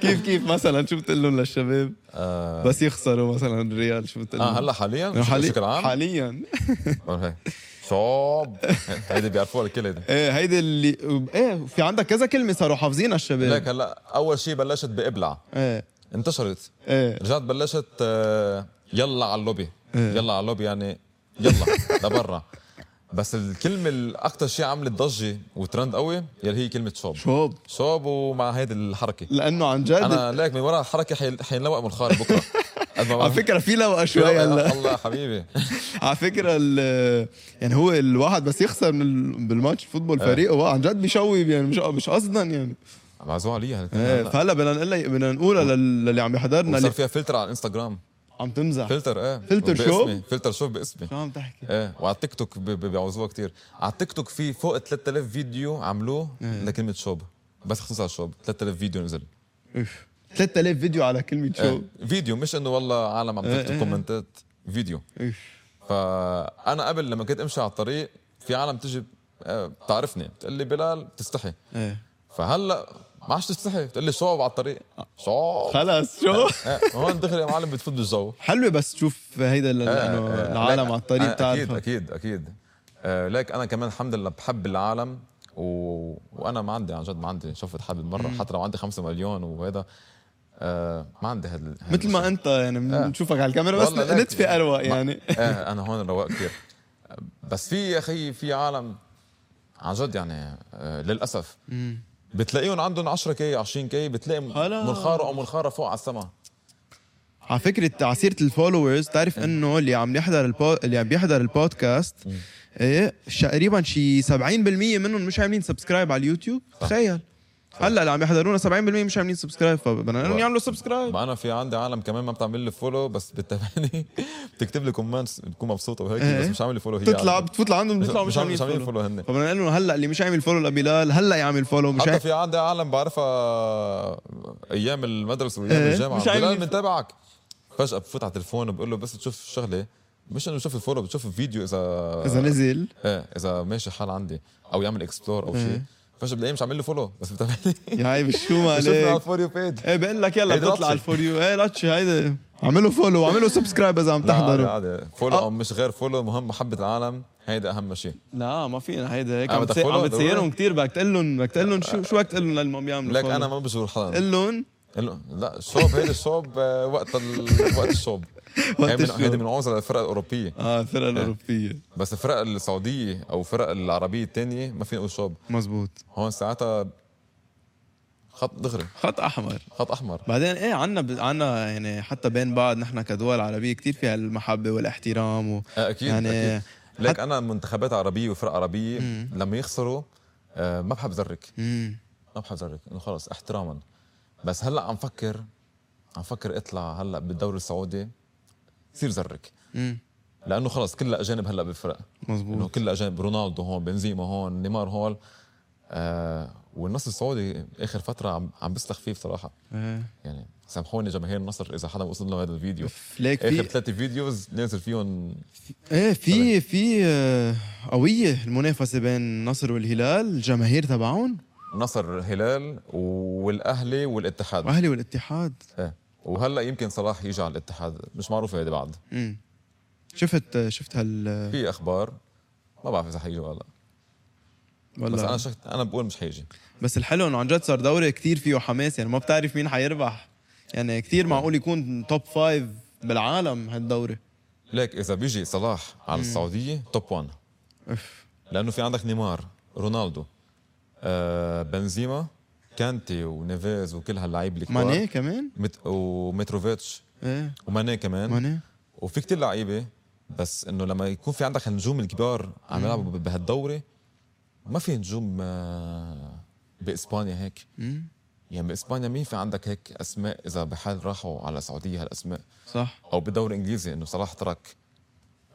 S1: كيف كيف مثلا شو بتقول لهم للشباب
S2: آه،
S1: بس يخسروا مثلا الريال شو بتقول
S2: اه
S1: لهم يعني
S2: هلا حاليا بشكل عام
S1: حاليا
S2: هون هيك. شعوب هيدي بيعرفوها الكل هيدي
S1: ايه هيدي اللي ايه في عندك كذا كلمه صاروا حافظينها
S2: لك
S1: الشباب
S2: هلا اول شيء بلشت بابلع
S1: ايه
S2: انتشرت
S1: ايه
S2: رجعت بلشت آه، يلا على اللوبي
S1: إيه.
S2: يلا على اللوبي يعني يلا لبرا بس الكلمه الاكثر شيء عملت ضجه وترند قوي يلي هي كلمه شوب
S1: شوب
S2: شوب ومع هيدي الحركه
S1: لانه عن جد
S2: انا ليك من ورا الحركه حي- حينلوق من الخارج بكره قد ما
S1: على
S2: بعمل-
S1: فكره في لوقه شوي هلا
S2: الله حبيبي
S1: على فكره ال- يعني هو الواحد بس يخسر من ال- بالماتش فوتبول
S2: إيه.
S1: فريقه هو عن جد بيشوي يعني مش مش قصدا يعني
S2: معزوع عليها هالكلمة
S1: ايه
S2: هلأ.
S1: فهلا بدنا نقول بدنا نقولها لل- للي عم بيحضرنا
S2: وصار
S1: اللي
S2: فيها فلتر على الانستغرام
S1: عم تمزح
S2: فلتر ايه
S1: فلتر
S2: باسمي.
S1: شوب؟
S2: فلتر شوب باسمي
S1: شو عم تحكي؟
S2: ايه وعلى التيك توك بي- بي- بيعوزوها كتير على التيك توك في فوق 3000 فيديو عملوه
S1: إيه.
S2: لكلمه شوب بس خصوصا على الشوب 3000 فيديو نزل
S1: اوف 3000 فيديو على كلمه
S2: ايه
S1: شوب
S2: فيديو مش انه والله عالم عم
S1: إيه،
S2: تكتب
S1: إيه.
S2: كومنتات فيديو
S1: اوف
S2: فانا قبل لما كنت امشي على الطريق في عالم تجي آه، بتعرفني بتقول لي بلال بتستحي
S1: ايه
S2: فهلا ما عادش تستحي بتقول لي شوب على الطريق شوب
S1: خلص شو
S2: إيه، هون دغري يا معلم بتفوت بالجو
S1: حلوه بس تشوف هيدا ال-
S2: آه،
S1: لانه
S2: آه،
S1: العالم
S2: لا،
S1: على الطريق
S2: آه، اكيد
S1: بتعرفها
S2: اكيد اكيد آه، لك انا كمان الحمد لله بحب العالم و... وانا ما عندي عن جد ما عندي شفت حابب مره حتى لو عندي خمسة مليون وهذا آه ما عندي هال هال-
S1: مثل ما انت يعني بنشوفك على الكاميرا بس
S2: آه. والله لك.
S1: نتفي اروق يعني
S2: آه انا هون رواق كثير بس في يا اخي في عالم عن جد يعني آه للاسف بتلاقيهم عندهم 10 كي 20 كي بتلاقي
S1: خلاص.
S2: منخاره او منخاره فوق على السما
S1: على فكره على سيره الفولورز تعرف
S2: إيه.
S1: انه اللي عم يحضر البو... اللي عم بيحضر البودكاست ايه ش- تقريبا شي 70% منهم مش عاملين سبسكرايب على اليوتيوب تخيل هلا اللي عم يحضرونا 70% مش عاملين سبسكرايب فبدنا نقول لهم يعملوا سبسكرايب
S2: ما انا في عندي عالم كمان ما بتعمل لي فولو بس بتتابعني بتكتب لي كومنتس بتكون مبسوطه وهيك بس مش عامل لي فولو هي
S1: إيه؟ بتطلع
S2: عالم.
S1: بتفوت لعندهم بتطلعوا مش
S2: مش عم- مش
S1: عاملين
S2: عاملين
S1: فولو
S2: فولو هن
S1: فبدنا نقول لهم هلا اللي مش عامل فولو لبلال هلا يعمل فولو مش
S2: حتى
S1: عامل
S2: في عندي عالم بعرفها ايام المدرسه وايام
S1: إيه،
S2: الجامعه
S1: مش عم
S2: بلال
S1: يف-
S2: من تبعك فجاه بفوت على التليفون بقول له بس تشوف شغله مش انه بشوف الفولو بشوف الفيديو اذا
S1: اذا نزل
S2: ايه اذا ماشي حال عندي او يعمل اكسبلور او شيء
S1: إيه.
S2: فجاه بلاقيه مش عامل لي فولو بس بتابعني
S1: يا هاي بالشو ما
S2: بشوفني على
S1: عليك
S2: الفور يو بيج
S1: ايه بقول لك يلا
S2: هيدي
S1: بتطلع
S2: لطشة.
S1: على الفور يو ايه لطشي هيدا اعملوا فولو واعملوا سبسكرايب اذا عم
S2: لا
S1: تحضروا
S2: عادي فولو
S1: آه.
S2: او مش غير فولو المهم محبه العالم هيدا اهم شيء
S1: لا ما فينا هيدا هيك
S2: عم
S1: عم
S2: بدك
S1: تسي-
S2: follow
S1: عم
S2: ضروري؟
S1: بتسيرهم كثير بدك تقول لهم بدك تقول لهم شو شو بدك تقول لهم للمهم يعملوا
S2: لك
S1: follow؟
S2: انا ما بزور حدا
S1: قول لهم
S2: قال له، لا الشوب هيدا الشوب آه، وقت ال... وقت الشوب هي من-
S1: الشوب.
S2: هيدي من عوزة الفرق الاوروبيه
S1: اه
S2: إيه.
S1: الفرقه الاوروبيه
S2: بس الفرق السعوديه او الفرق العربيه الثانيه ما فينا نقول شوب
S1: مزبوط
S2: هون ساعتها خط دغري
S1: خط احمر
S2: خط احمر
S1: بعدين ايه عنا ب... عنا يعني حتى بين بعض نحن كدول عربيه كثير فيها المحبه والاحترام و...
S2: آه، اكيد
S1: يعني
S2: يعني
S1: حت-
S2: لك انا منتخبات عربيه وفرق عربيه لما يخسروا آه، ما بحب زرك
S1: مم.
S2: ما بحب زرك انه خلص احتراما بس هلا عم فكر عم فكر اطلع هلا بالدوري السعودي كثير زرك
S1: مم.
S2: لانه خلص كلها اجانب هلا بالفرق انه
S1: مزبوط
S2: كلها اجانب رونالدو هون بنزيما هون نيمار هون آه والنصر السعودي اخر فتره عم عم بسلخ فيه بصراحه
S1: إيه.
S2: يعني سامحوني جماهير النصر اذا حدا وصل له هذا الفيديو
S1: ليك
S2: اخر
S1: في
S2: ثلاثة فيديوز نازل فيهم
S1: ايه في في آه، قويه المنافسه بين النصر والهلال الجماهير تبعهم
S2: نصر هلال والاهلي والاتحاد
S1: واهلي والاتحاد
S2: إيه. وهلا يمكن صلاح يجي على الاتحاد مش معروف هيدي بعد
S1: مم. شفت آه، شفت هال
S2: في اخبار ما بعرف اذا حيجي ولا لا. بس انا
S1: والله
S2: شفت انا بقول مش حيجي
S1: بس الحلو انه عن جد صار دوري كثير فيه حماس يعني ما بتعرف مين حيربح يعني كثير معقول يكون توب فايف بالعالم هالدوري
S2: ليك اذا بيجي صلاح على السعوديه توب 1
S1: اف
S2: لانه في عندك نيمار رونالدو آه بنزيما كانتي ونيفيز وكل هاللعيب الكبار
S1: ماني كمان
S2: مت... ومتروفيتش
S1: ايه
S2: وماني كمان
S1: ماني
S2: وفي كتير لعيبه بس انه لما يكون في عندك النجوم الكبار عم يلعبوا ب- بهالدوري ما في نجوم آه، باسبانيا هيك
S1: مم.
S2: يعني باسبانيا مين في عندك هيك اسماء اذا بحال راحوا على السعوديه هالاسماء
S1: صح
S2: او بالدوري الانجليزي انه صلاح ترك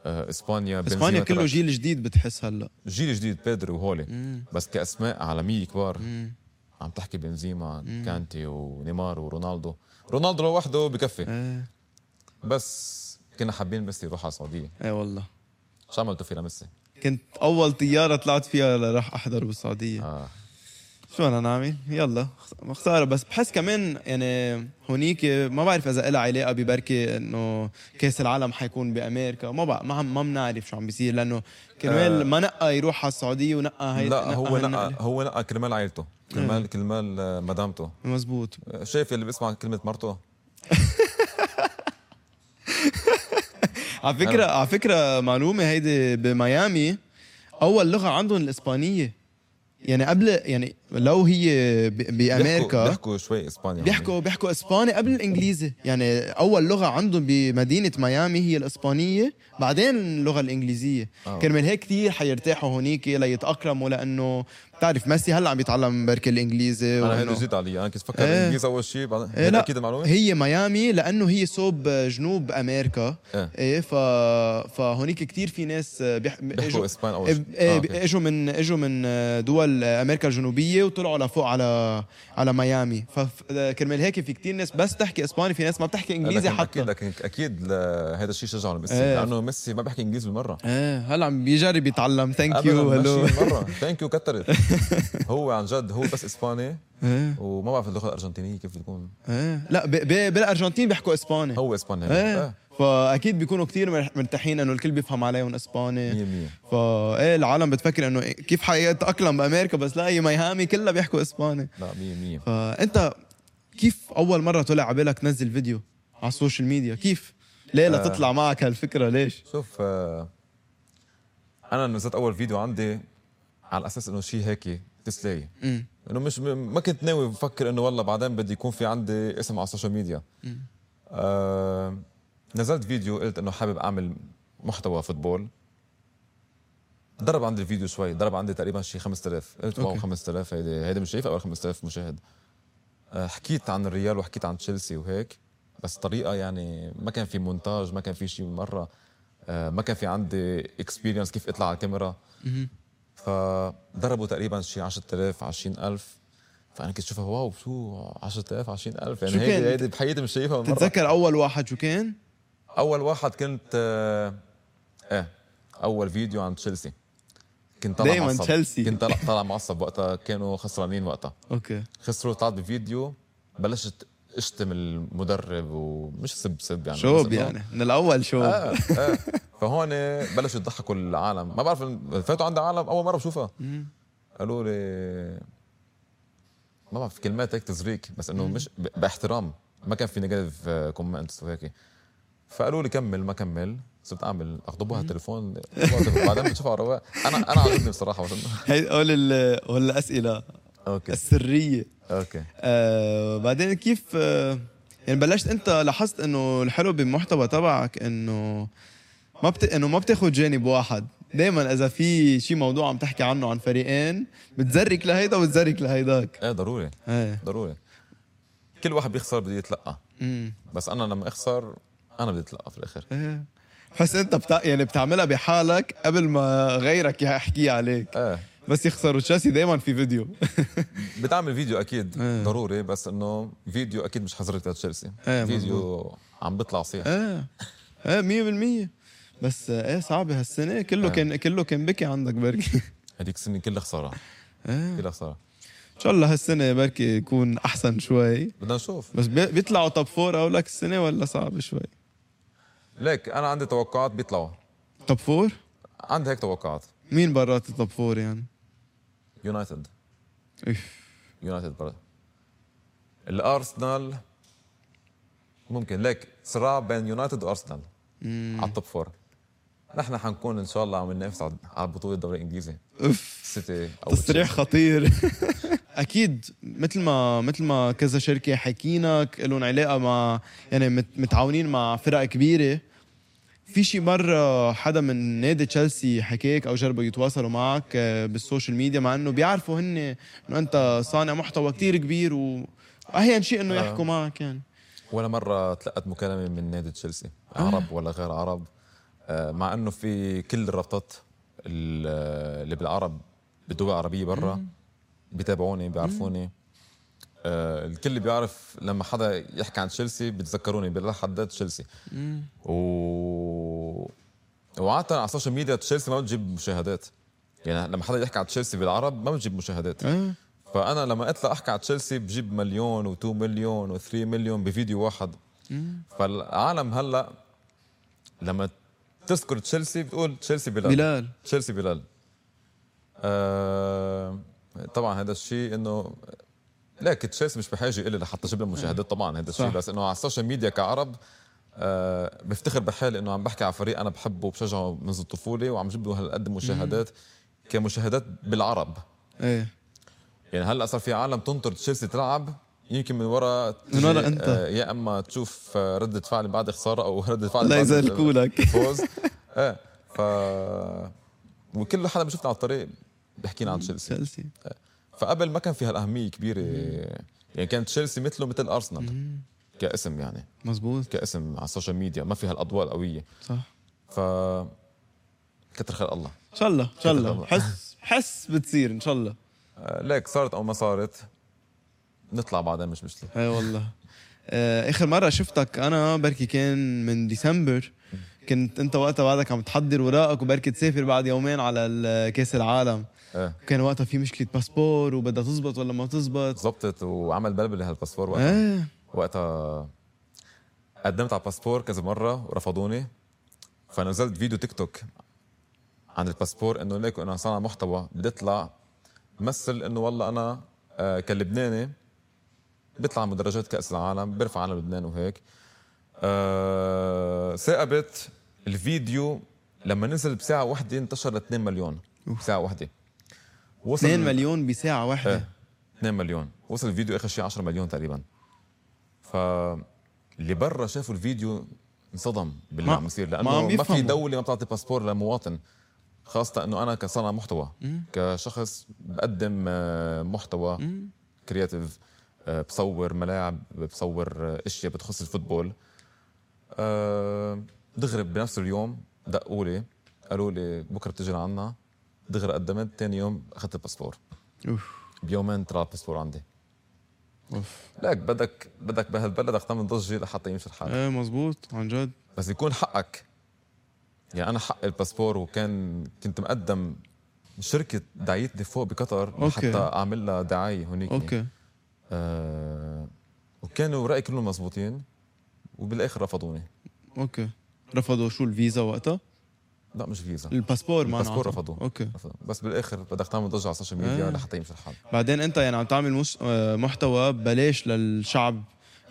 S2: آه، اسبانيا بنزيما
S1: اسبانيا كله
S2: ترك.
S1: جيل جديد بتحس هلا
S2: جيل جديد بيدري وهولي بس كاسماء عالميه كبار عم تحكي بنزيما كانتي ونيمار ورونالدو رونالدو لوحده بكفي
S1: ايه
S2: بس كنا حابين ميسي يروح على السعوديه
S1: ايه والله
S2: شو عملتوا فيه لميسي؟
S1: كنت اول طياره طلعت فيها لراح احضر بالسعوديه
S2: آه.
S1: شو انا نعمل يلا خس- خساره بس بحس كمان يعني هونيك ما بعرف اذا لها علاقه ببركي انه كاس العالم حيكون بامريكا ما بقى ما عم- ما بنعرف شو عم بيصير لانه كرمال ما نقى يروح على السعوديه ونقى هي
S2: آه. لا هو
S1: هالنقلة.
S2: نقى هو نقى كرمال عائلته كرمال كرمال آه، مدامته
S1: مزبوط
S2: آه، شايف اللي بيسمع كلمه مرته آه.
S1: على فكره على فكره معلومه هيدي بميامي اول لغه عندهم الاسبانيه يعني قبل يعني لو هي ب-
S2: بيحكوا,
S1: بامريكا
S2: بيحكوا شوي اسبانيا
S1: بيحكوا بيحكوا اسباني قبل الانجليزي يعني اول لغه عندهم بمدينه ميامي هي الاسبانيه بعدين اللغه الانجليزيه
S2: آه.
S1: كرمال هيك كثير حيرتاحوا هونيك ليتاقلموا لانه بتعرف ميسي هلا عم يتعلم بركي الانجليزي
S2: انا
S1: وإنه-
S2: هيدا جديد علي انا كنت فكر
S1: إيه.
S2: الانجليزي اول شيء بعدين
S1: إيه
S2: هيدا
S1: لا
S2: اكيد المعلومه
S1: هي ميامي لانه هي صوب آه، جنوب امريكا
S2: إيه.
S1: ايه ف فهونيك كثير في ناس آه، بيح...
S2: بيحكوا
S1: إجوا-
S2: اسبان اول شيء آه،
S1: ايه
S2: أوكي.
S1: اجوا من اجوا من آه، دول امريكا الجنوبيه وطلعوا لفوق على على ميامي فكرمال هيك في كتير ناس بس تحكي اسباني في ناس ما بتحكي انجليزي
S2: لكن
S1: حتى
S2: اكيد لكن اكيد لا- هذا الشيء شجعه لميسي
S1: إيه.
S2: لانه ميسي ما بيحكي انجليزي بالمره
S1: ايه هلا عم بيجرب يتعلم ثانك يو هلو
S2: ماشي مره ثانك يو كترت هو عن جد هو بس اسباني
S1: ايه
S2: وما بعرف اللغه الارجنتينيه كيف بتكون
S1: ايه لا ب... ب... بالارجنتين بيحكوا اسباني
S2: هو اسباني
S1: ايه
S2: آه،
S1: فاكيد بيكونوا كتير مرح- مرتاحين انه الكل بيفهم عليهم اسباني
S2: 100%
S1: فا ايه العالم بتفكر انه إيه كيف حيتاقلم بامريكا بس لا هي ميامي كلها بيحكوا اسباني
S2: لا 100%
S1: فانت كيف اول مره طلع على بالك تنزل فيديو على السوشيال ميديا كيف ليه لا
S2: آه.
S1: تطلع معك هالفكره ليش
S2: شوف آه، انا نزلت اول فيديو عندي على اساس انه شيء هيك تسلاي
S1: مم.
S2: انه مش ما كنت ناوي بفكر انه والله بعدين بدي يكون في عندي اسم على السوشيال ميديا آه نزلت فيديو قلت انه حابب اعمل محتوى فوتبول ضرب عندي الفيديو شوي ضرب عندي تقريبا شي 5000 قلت واو
S1: أوكي.
S2: 5000 هيدي هيدي مش شايف اول 5000 مشاهد آه حكيت عن الريال وحكيت عن تشيلسي وهيك بس طريقه يعني ما كان في مونتاج ما كان في شيء مره آه ما كان في عندي اكسبيرينس كيف اطلع على الكاميرا فضربوا تقريبا شي 10000 20000 فانا كنت شوفها واو شو 10000 20000
S1: شو
S2: يعني
S1: كان؟
S2: هيدي هيدي بحياتي مش شايفها من مرة
S1: تتذكر اول واحد شو كان؟
S2: اول واحد كنت آه، ايه اول فيديو عن تشيلسي كنت طالع
S1: دايماً
S2: معصب.
S1: تشيلسي.
S2: كنت طالع طالع معصب وقتها كانوا خسرانين وقتها
S1: اوكي
S2: خسروا طلعت بفيديو بلشت اشتم المدرب ومش سب سب يعني بس
S1: شوب
S2: إنه-
S1: يعني من الاول شوب
S2: آه، آه. فهون بلشوا يضحكوا العالم ما بعرف فاتوا عند عالم اول مره بشوفها قالوا لي ما بعرف كلمات هيك تزريك بس انه مش ب- باحترام ما كان في نيجاتيف كومنتس وهيك فقالوا لي كمل ما كمل صرت اعمل اخطبوها على التليفون بعدين بتشوفها على الرواق انا انا عجبني بصراحه بس إنه-
S1: هي قول ال- قول الاسئله
S2: اوكي
S1: السريه
S2: اوكي
S1: آه بعدين كيف آه يعني بلشت انت لاحظت انه الحلو بالمحتوى تبعك انه ما بت... انه ما بتاخذ جانب واحد دائما اذا في شي موضوع عم تحكي عنه عن فريقين بتزرك لهيدا وبتزرك لهيداك
S2: ايه ضروري
S1: ايه
S2: ضروري كل واحد بيخسر بده يتلقى
S1: أمم.
S2: بس انا لما اخسر انا بدي اتلقى في الاخر
S1: ايه بحس انت بتا... يعني بتعملها بحالك قبل ما غيرك يحكي عليك
S2: ايه
S1: بس يخسروا تشيلسي دائما في فيديو
S2: بتعمل فيديو اكيد
S1: إيه.
S2: ضروري بس انه فيديو اكيد مش حظرك لتشيلسي
S1: إيه،
S2: فيديو عم بيطلع صيح
S1: ايه ايه مية بالمية بس آه، ايه صعبة هالسنة كله
S2: آه.
S1: كان كله كان بكي عندك بركي
S2: هذيك السنه كلها خساره
S1: ايه
S2: كلها خساره
S1: ان شاء الله هالسنه بركي يكون احسن شوي
S2: بدنا نشوف
S1: بس بي- بيطلعوا توب فور او لك السنه ولا صعب شوي
S2: ليك انا عندي توقعات بيطلعوا
S1: توب فور
S2: عندي هيك توقعات
S1: مين برات التوب فور يعني
S2: يونايتد
S1: إف.
S2: يونايتد برضه الارسنال ممكن ليك صراع بين يونايتد وارسنال على التوب فور نحن حنكون ان شاء الله عم ننافس على على بطوله الدوري الانجليزي
S1: اف
S2: سيتي او
S1: تصريح خطير اكيد مثل ما مثل ما كذا شركه حكيناك لهم علاقه مع يعني مت- متعاونين مع فرق كبيره في شي مرة حدا من نادي تشيلسي حكيك أو جربوا يتواصلوا معك آه، بالسوشيال ميديا مع إنه بيعرفوا هن إنه أنت صانع محتوى كتير كبير وأهين شيء إنه يحكوا معك يعني
S2: ولا مرة تلقت مكالمة من نادي تشيلسي عرب ولا غير عرب آه، مع انه في كل الرابطات ال- آه، اللي بالعرب بدول عربية برا بيتابعوني بيعرفوني آه، الكل بيعرف لما حدا يحكي عن تشيلسي بيتذكروني بلحد تشيلسي و وعادة على السوشيال ميديا تشيلسي ما بتجيب مشاهدات يعني لما حدا يحكي عن تشيلسي بالعرب ما بتجيب مشاهدات
S1: إيه.
S2: فانا لما اطلع احكي على تشيلسي بجيب مليون و2 مليون و3 مليون بفيديو واحد فالعالم هلا لما تذكر تشيلسي بتقول تشيلسي بلال
S1: بلال
S2: تشيلسي بلال آه طبعا هذا الشيء انه لك تشيلسي مش بحاجه الي لحتى جيب لها مشاهدات طبعا هذا الشيء
S1: صح.
S2: بس انه على السوشيال ميديا كعرب آه بفتخر بحالي انه عم بحكي على فريق انا بحبه وبشجعه منذ الطفوله وعم جيب له هالقد مشاهدات كمشاهدات بالعرب
S1: ايه
S2: يعني هلا صار في عالم تنطر تشيلسي تلعب يمكن من ورا آه،
S1: من ورا أنت.
S2: يا اما تشوف آه، ردة فعل بعد خساره او ردة فعل
S1: لا
S2: بعد
S1: يزلكوا لك.
S2: فوز ايه ف وكل حدا بشوفنا على الطريق بيحكي لنا عن تشيلسي
S1: تشيلسي
S2: فقبل ما كان في هالاهميه كبيره يعني كان تشيلسي مثله مثل ارسنال كاسم يعني
S1: مزبوط
S2: كاسم على السوشيال ميديا ما في هالاضواء القويه
S1: صح
S2: ف كتر خير الله
S1: ان شاء الله ان شاء الله
S2: الله.
S1: حس حس بتصير ان شاء الله
S2: آه، ليك صارت او ما صارت نطلع بعدين مش مشكله
S1: اي إيه والله آه، اخر مره شفتك انا بركي كان من ديسمبر كنت انت وقتها بعدك عم تحضر اوراقك وبركي تسافر بعد يومين على ال- كاس العالم
S2: ايه
S1: كان وقتها في مشكله باسبور وبدها تزبط ولا ما تزبط
S2: ظبطت وعمل بلبله هالباسبور وقتها
S1: ايه
S2: وقتها قدمت على الباسبور كذا مره ورفضوني فنزلت فيديو تيك توك عن الباسبور انه ليكوا انا صانع محتوى بدي اطلع مثل انه والله انا آه، كلبناني بيطلع على مدرجات كاس العالم برفع علم لبنان وهيك آه، ثاقبت الفيديو لما نزل بساعه واحده انتشر ل 2 مليون بساعه واحده وصل
S1: 2 مليون بساعه واحده
S2: 2 مليون وصل الفيديو اخر شيء 10 مليون تقريبا ف اللي برا شافوا الفيديو انصدم باللي
S1: ما-
S2: عم يصير
S1: ما
S2: لانه
S1: عم
S2: ما, في
S1: يفهموا.
S2: دوله ما بتعطي باسبور لمواطن خاصة انه انا كصانع محتوى كشخص بقدم آه، محتوى كرياتيف بصور ملاعب بصور آه، اشياء بتخص الفوتبول آه، دغري بنفس اليوم دقوا لي قالوا لي بكره بتجي لعنا دغري قدمت ثاني يوم اخذت الباسبور
S1: اوف
S2: بيومين طلع الباسبور عندي
S1: اوف
S2: لك بدك بدك بهالبلدك تعمل ضجه لحتى يمشي الحال
S1: ايه مزبوط عن جد
S2: بس يكون حقك يعني انا حق الباسبور وكان كنت مقدم شركه دعيتني فوق بقطر
S1: أوكي.
S2: حتى اعمل لها دعايه هونيك
S1: اوكي
S2: آه وكانوا رايي كلهم مزبوطين وبالاخر رفضوني
S1: اوكي رفضوا شو الفيزا وقتها
S2: لا مش فيزا
S1: الباسبور ما
S2: الباسبور
S1: انعطى.
S2: رفضوه
S1: اوكي
S2: رفضوا. بس بالاخر بدك تعمل ضجه على السوشيال ميديا
S1: آه.
S2: لحتى يمشي الحال
S1: بعدين انت يعني عم تعمل مس... آه، محتوى بلاش للشعب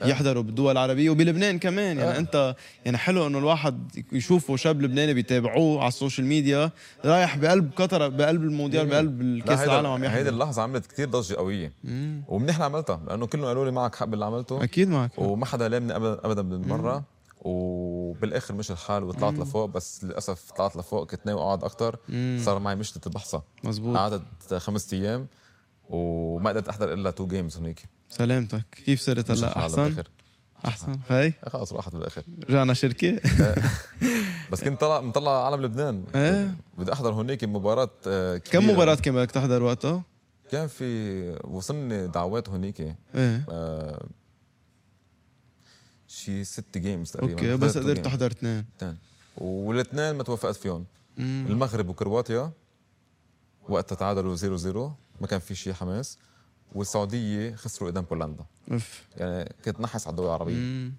S1: يحضروا بالدول العربية وبلبنان كمان يعني
S2: آه.
S1: انت يعني حلو انه الواحد يشوفه شاب لبناني بيتابعوه على السوشيال ميديا رايح بقلب قطر بقلب المونديال بقلب الكاس العالم عم
S2: هيدي
S1: يحضر
S2: اللحظه عملت كتير ضجه قويه
S1: مم.
S2: ومنيح عملتها لانه كلهم قالوا لي معك حق باللي عملته
S1: اكيد معك
S2: وما حدا لامني ابدا ابدا بالمره وبالاخر مشي الحال وطلعت لفوق بس للاسف طلعت لفوق كنت ناوي اقعد اكثر
S1: مم.
S2: صار معي مشكله البحصه نعم.
S1: مزبوط
S2: قعدت خمسة ايام وما قدرت احضر الا تو جيمز هنيك
S1: سلامتك كيف صرت
S2: مشي
S1: هلا
S2: الحال
S1: احسن
S2: بالآخر.
S1: احسن هاي
S2: خلص راحت بالاخر
S1: رجعنا شركة
S2: بس كنت طلع مطلع علم لبنان
S1: إيه.
S2: بدي احضر هنيك مباراه آه، كبيرة.
S1: كم مباراة كان بدك تحضر وقتها؟
S2: كان في وصلني دعوات هنيك
S1: ايه
S2: آه، شي ست جيمز تقريبا
S1: اوكي
S2: حضرت
S1: بس قدرت
S2: game.
S1: تحضر اثنين
S2: تاني. والاثنين ما توفقت فيهم المغرب وكرواتيا وقتها تعادلوا 0 0 ما كان في شيء حماس والسعوديه خسروا قدام بولندا
S1: اف
S2: يعني كنت نحس على الدول العربيه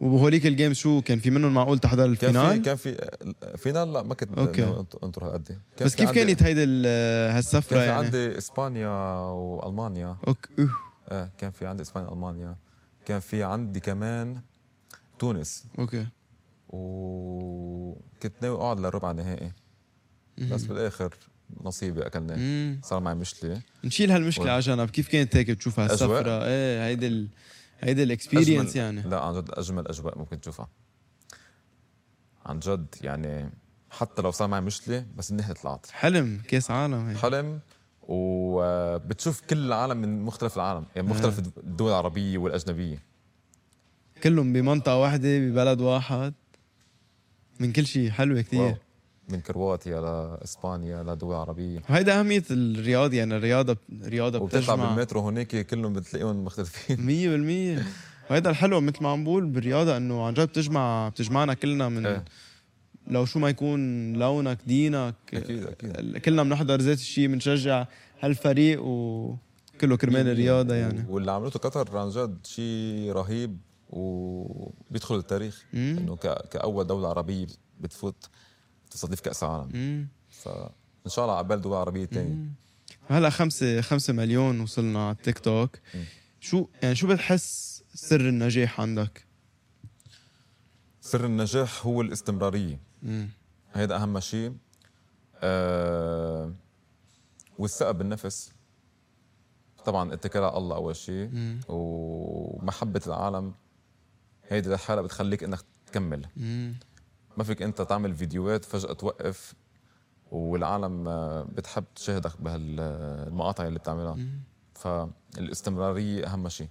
S1: وبهوليك الجيم شو كان في منهم معقول تحضر
S2: كان في
S1: الفينال
S2: كان في فينال لا ما كنت
S1: أوكي.
S2: ناوي أنط- انطر هالقد كان
S1: بس
S2: في
S1: كيف
S2: عندي-
S1: كانت هيدي ال- هالسفره
S2: كان في
S1: يعني
S2: عندي اسبانيا والمانيا
S1: اوكي أوه.
S2: آه كان في عندي اسبانيا المانيا كان في عندي كمان تونس
S1: اوكي
S2: وكنت ناوي اقعد للربع نهائي بس بالاخر نصيبي اكلناه
S1: مم.
S2: صار معي مشكله
S1: نشيل هالمشكله على جنب كيف كانت هيك تشوف
S2: الأجواء؟
S1: هالسفره ايه هيدي ال... هيدي الاكسبيرينس
S2: أجمل-
S1: يعني
S2: لا عن جد اجمل اجواء ممكن تشوفها عن جد يعني حتى لو صار معي مشكله بس منيح طلعت
S1: حلم كاس عالم هي
S2: حلم وبتشوف كل العالم من مختلف العالم يعني مختلف
S1: آه.
S2: الدول العربيه والاجنبيه
S1: كلهم بمنطقه واحده ببلد واحد من كل شيء حلوه
S2: واو.
S1: كثير
S2: من كرواتيا لاسبانيا لدول عربيه
S1: وهيدا اهميه الرياضه يعني الرياضه الرياضه
S2: وبتطلع
S1: بتجمع
S2: بالمترو هناك كلهم بتلاقيهم مختلفين
S1: مية بالمية وهيدا الحلو مثل ما عم بقول بالرياضة انه عن جد بتجمع بتجمعنا كلنا من
S2: إيه.
S1: لو شو ما يكون لونك دينك
S2: أكيد- أكيد.
S1: كلنا بنحضر ذات الشيء بنشجع هالفريق وكله كرمال الرياضة يعني
S2: واللي عملته قطر عن جد شيء رهيب وبيدخل التاريخ انه ك- كاول دوله عربيه بتفوت تستضيف كاس العالم
S1: مم.
S2: فان شاء الله عبال دول عربيه ثانيه
S1: هلا خمسة خمسة مليون وصلنا على التيك توك
S2: مم.
S1: شو يعني شو بتحس سر النجاح عندك؟
S2: سر النجاح هو الاستمراريه
S1: مم.
S2: هيدا اهم شيء آه والثقه بالنفس طبعا اتكال على الله اول شيء ومحبه العالم هيدي لحالها بتخليك انك تكمل
S1: مم.
S2: ما فيك انت تعمل فيديوهات فجاه توقف والعالم آه، بتحب تشاهدك بهالمقاطع اللي بتعملها فالاستمراريه اهم شيء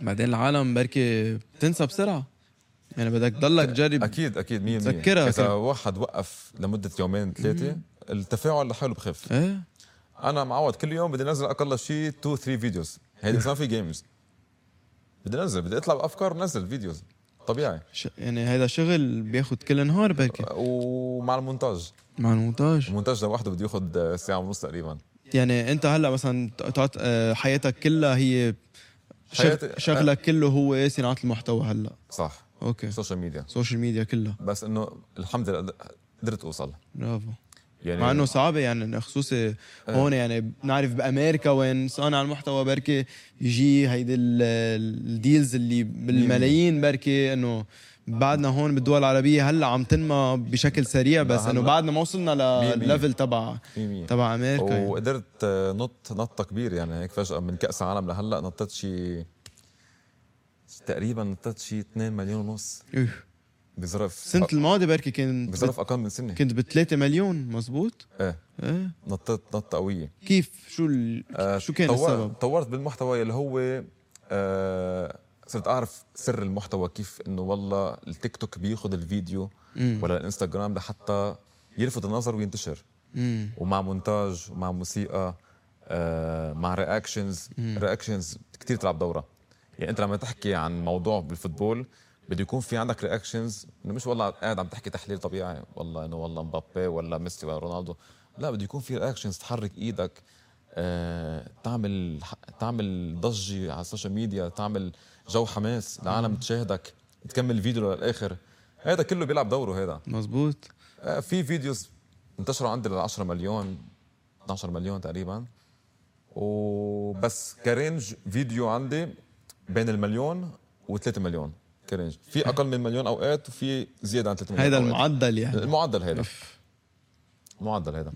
S1: بعدين العالم بركي بتنسى بسرعة يعني بدك تضلك تجرب
S2: اكيد اكيد 100%
S1: تذكرها
S2: اذا
S1: كده.
S2: واحد وقف لمده يومين ثلاثه التفاعل لحاله بخف
S1: ايه
S2: انا معود كل يوم بدي انزل اقل شيء 2 3 فيديوز هيدي ما في جيمز بدي انزل بدي اطلع بافكار نزل فيديوز طبيعي
S1: ش... يعني هيدا شغل بياخد كل نهار بركي
S2: ومع المونتاج
S1: مع المونتاج
S2: المونتاج لوحده بده ياخذ ساعه ونص تقريبا
S1: يعني انت هلا مثلا ت- تعط... آه، حياتك كلها هي شغ...
S2: حياتي- آه.
S1: شغلك كله هو صناعه المحتوى هلا
S2: صح
S1: اوكي
S2: سوشيال ميديا
S1: سوشيال ميديا كلها
S2: بس انه الحمد لله قدرت اوصل
S1: برافو
S2: يعني آه.
S1: مع انه صعبه يعني إنه خصوصي هون يعني بنعرف بامريكا وين صانع المحتوى بركي يجي هيدي ال- ال- الديلز اللي بالملايين بركي انه بعدنا هون بالدول العربيه هلا عم تنمى بشكل سريع بس
S2: هلا.
S1: انه بعدنا ما وصلنا
S2: مية مية.
S1: لليفل تبع
S2: مية مية.
S1: تبع امريكا يعني.
S2: وقدرت آه، نط نطه كبير يعني هيك فجاه من كاس العالم لهلا نطت شي تقريبا نطت شي 2 مليون ونص
S1: إيه.
S2: بظرف
S1: السنة الماضية بركي كان بت...
S2: بظرف اقل من سنه
S1: كنت ب 3 مليون مزبوط
S2: ايه
S1: ايه
S2: نطت نطه قويه
S1: كيف شو ال...
S2: آه،
S1: شو كان
S2: طور-
S1: السبب؟
S2: طورت بالمحتوى اللي هو آه، صرت اعرف سر المحتوى كيف انه والله التيك توك بياخذ الفيديو ولا الانستغرام لحتى يلفت النظر وينتشر
S1: مم.
S2: ومع مونتاج ومع موسيقى آه، مع رياكشنز رياكشنز كثير تلعب دوره يعني انت لما تحكي عن موضوع بالفوتبول بده يكون في عندك رياكشنز انه مش والله قاعد عم تحكي تحليل طبيعي والله انه والله مبابي ولا ميسي ولا رونالدو لا بده يكون في رياكشنز تحرك ايدك آه، تعمل تعمل ضجه على السوشيال ميديا تعمل جو حماس العالم تشاهدك تكمل الفيديو للاخر هذا كله بيلعب دوره هذا
S1: مزبوط
S2: آه، في فيديوز انتشروا عندي لل 10 مليون 12 مليون تقريبا وبس كرينج فيديو عندي بين المليون و3 مليون كرينج في اقل من مليون اوقات وفي زياده عن 3 مليون
S1: هيدا
S2: أوقات.
S1: المعدل يعني
S2: المعدل هيدا المعدل هيدا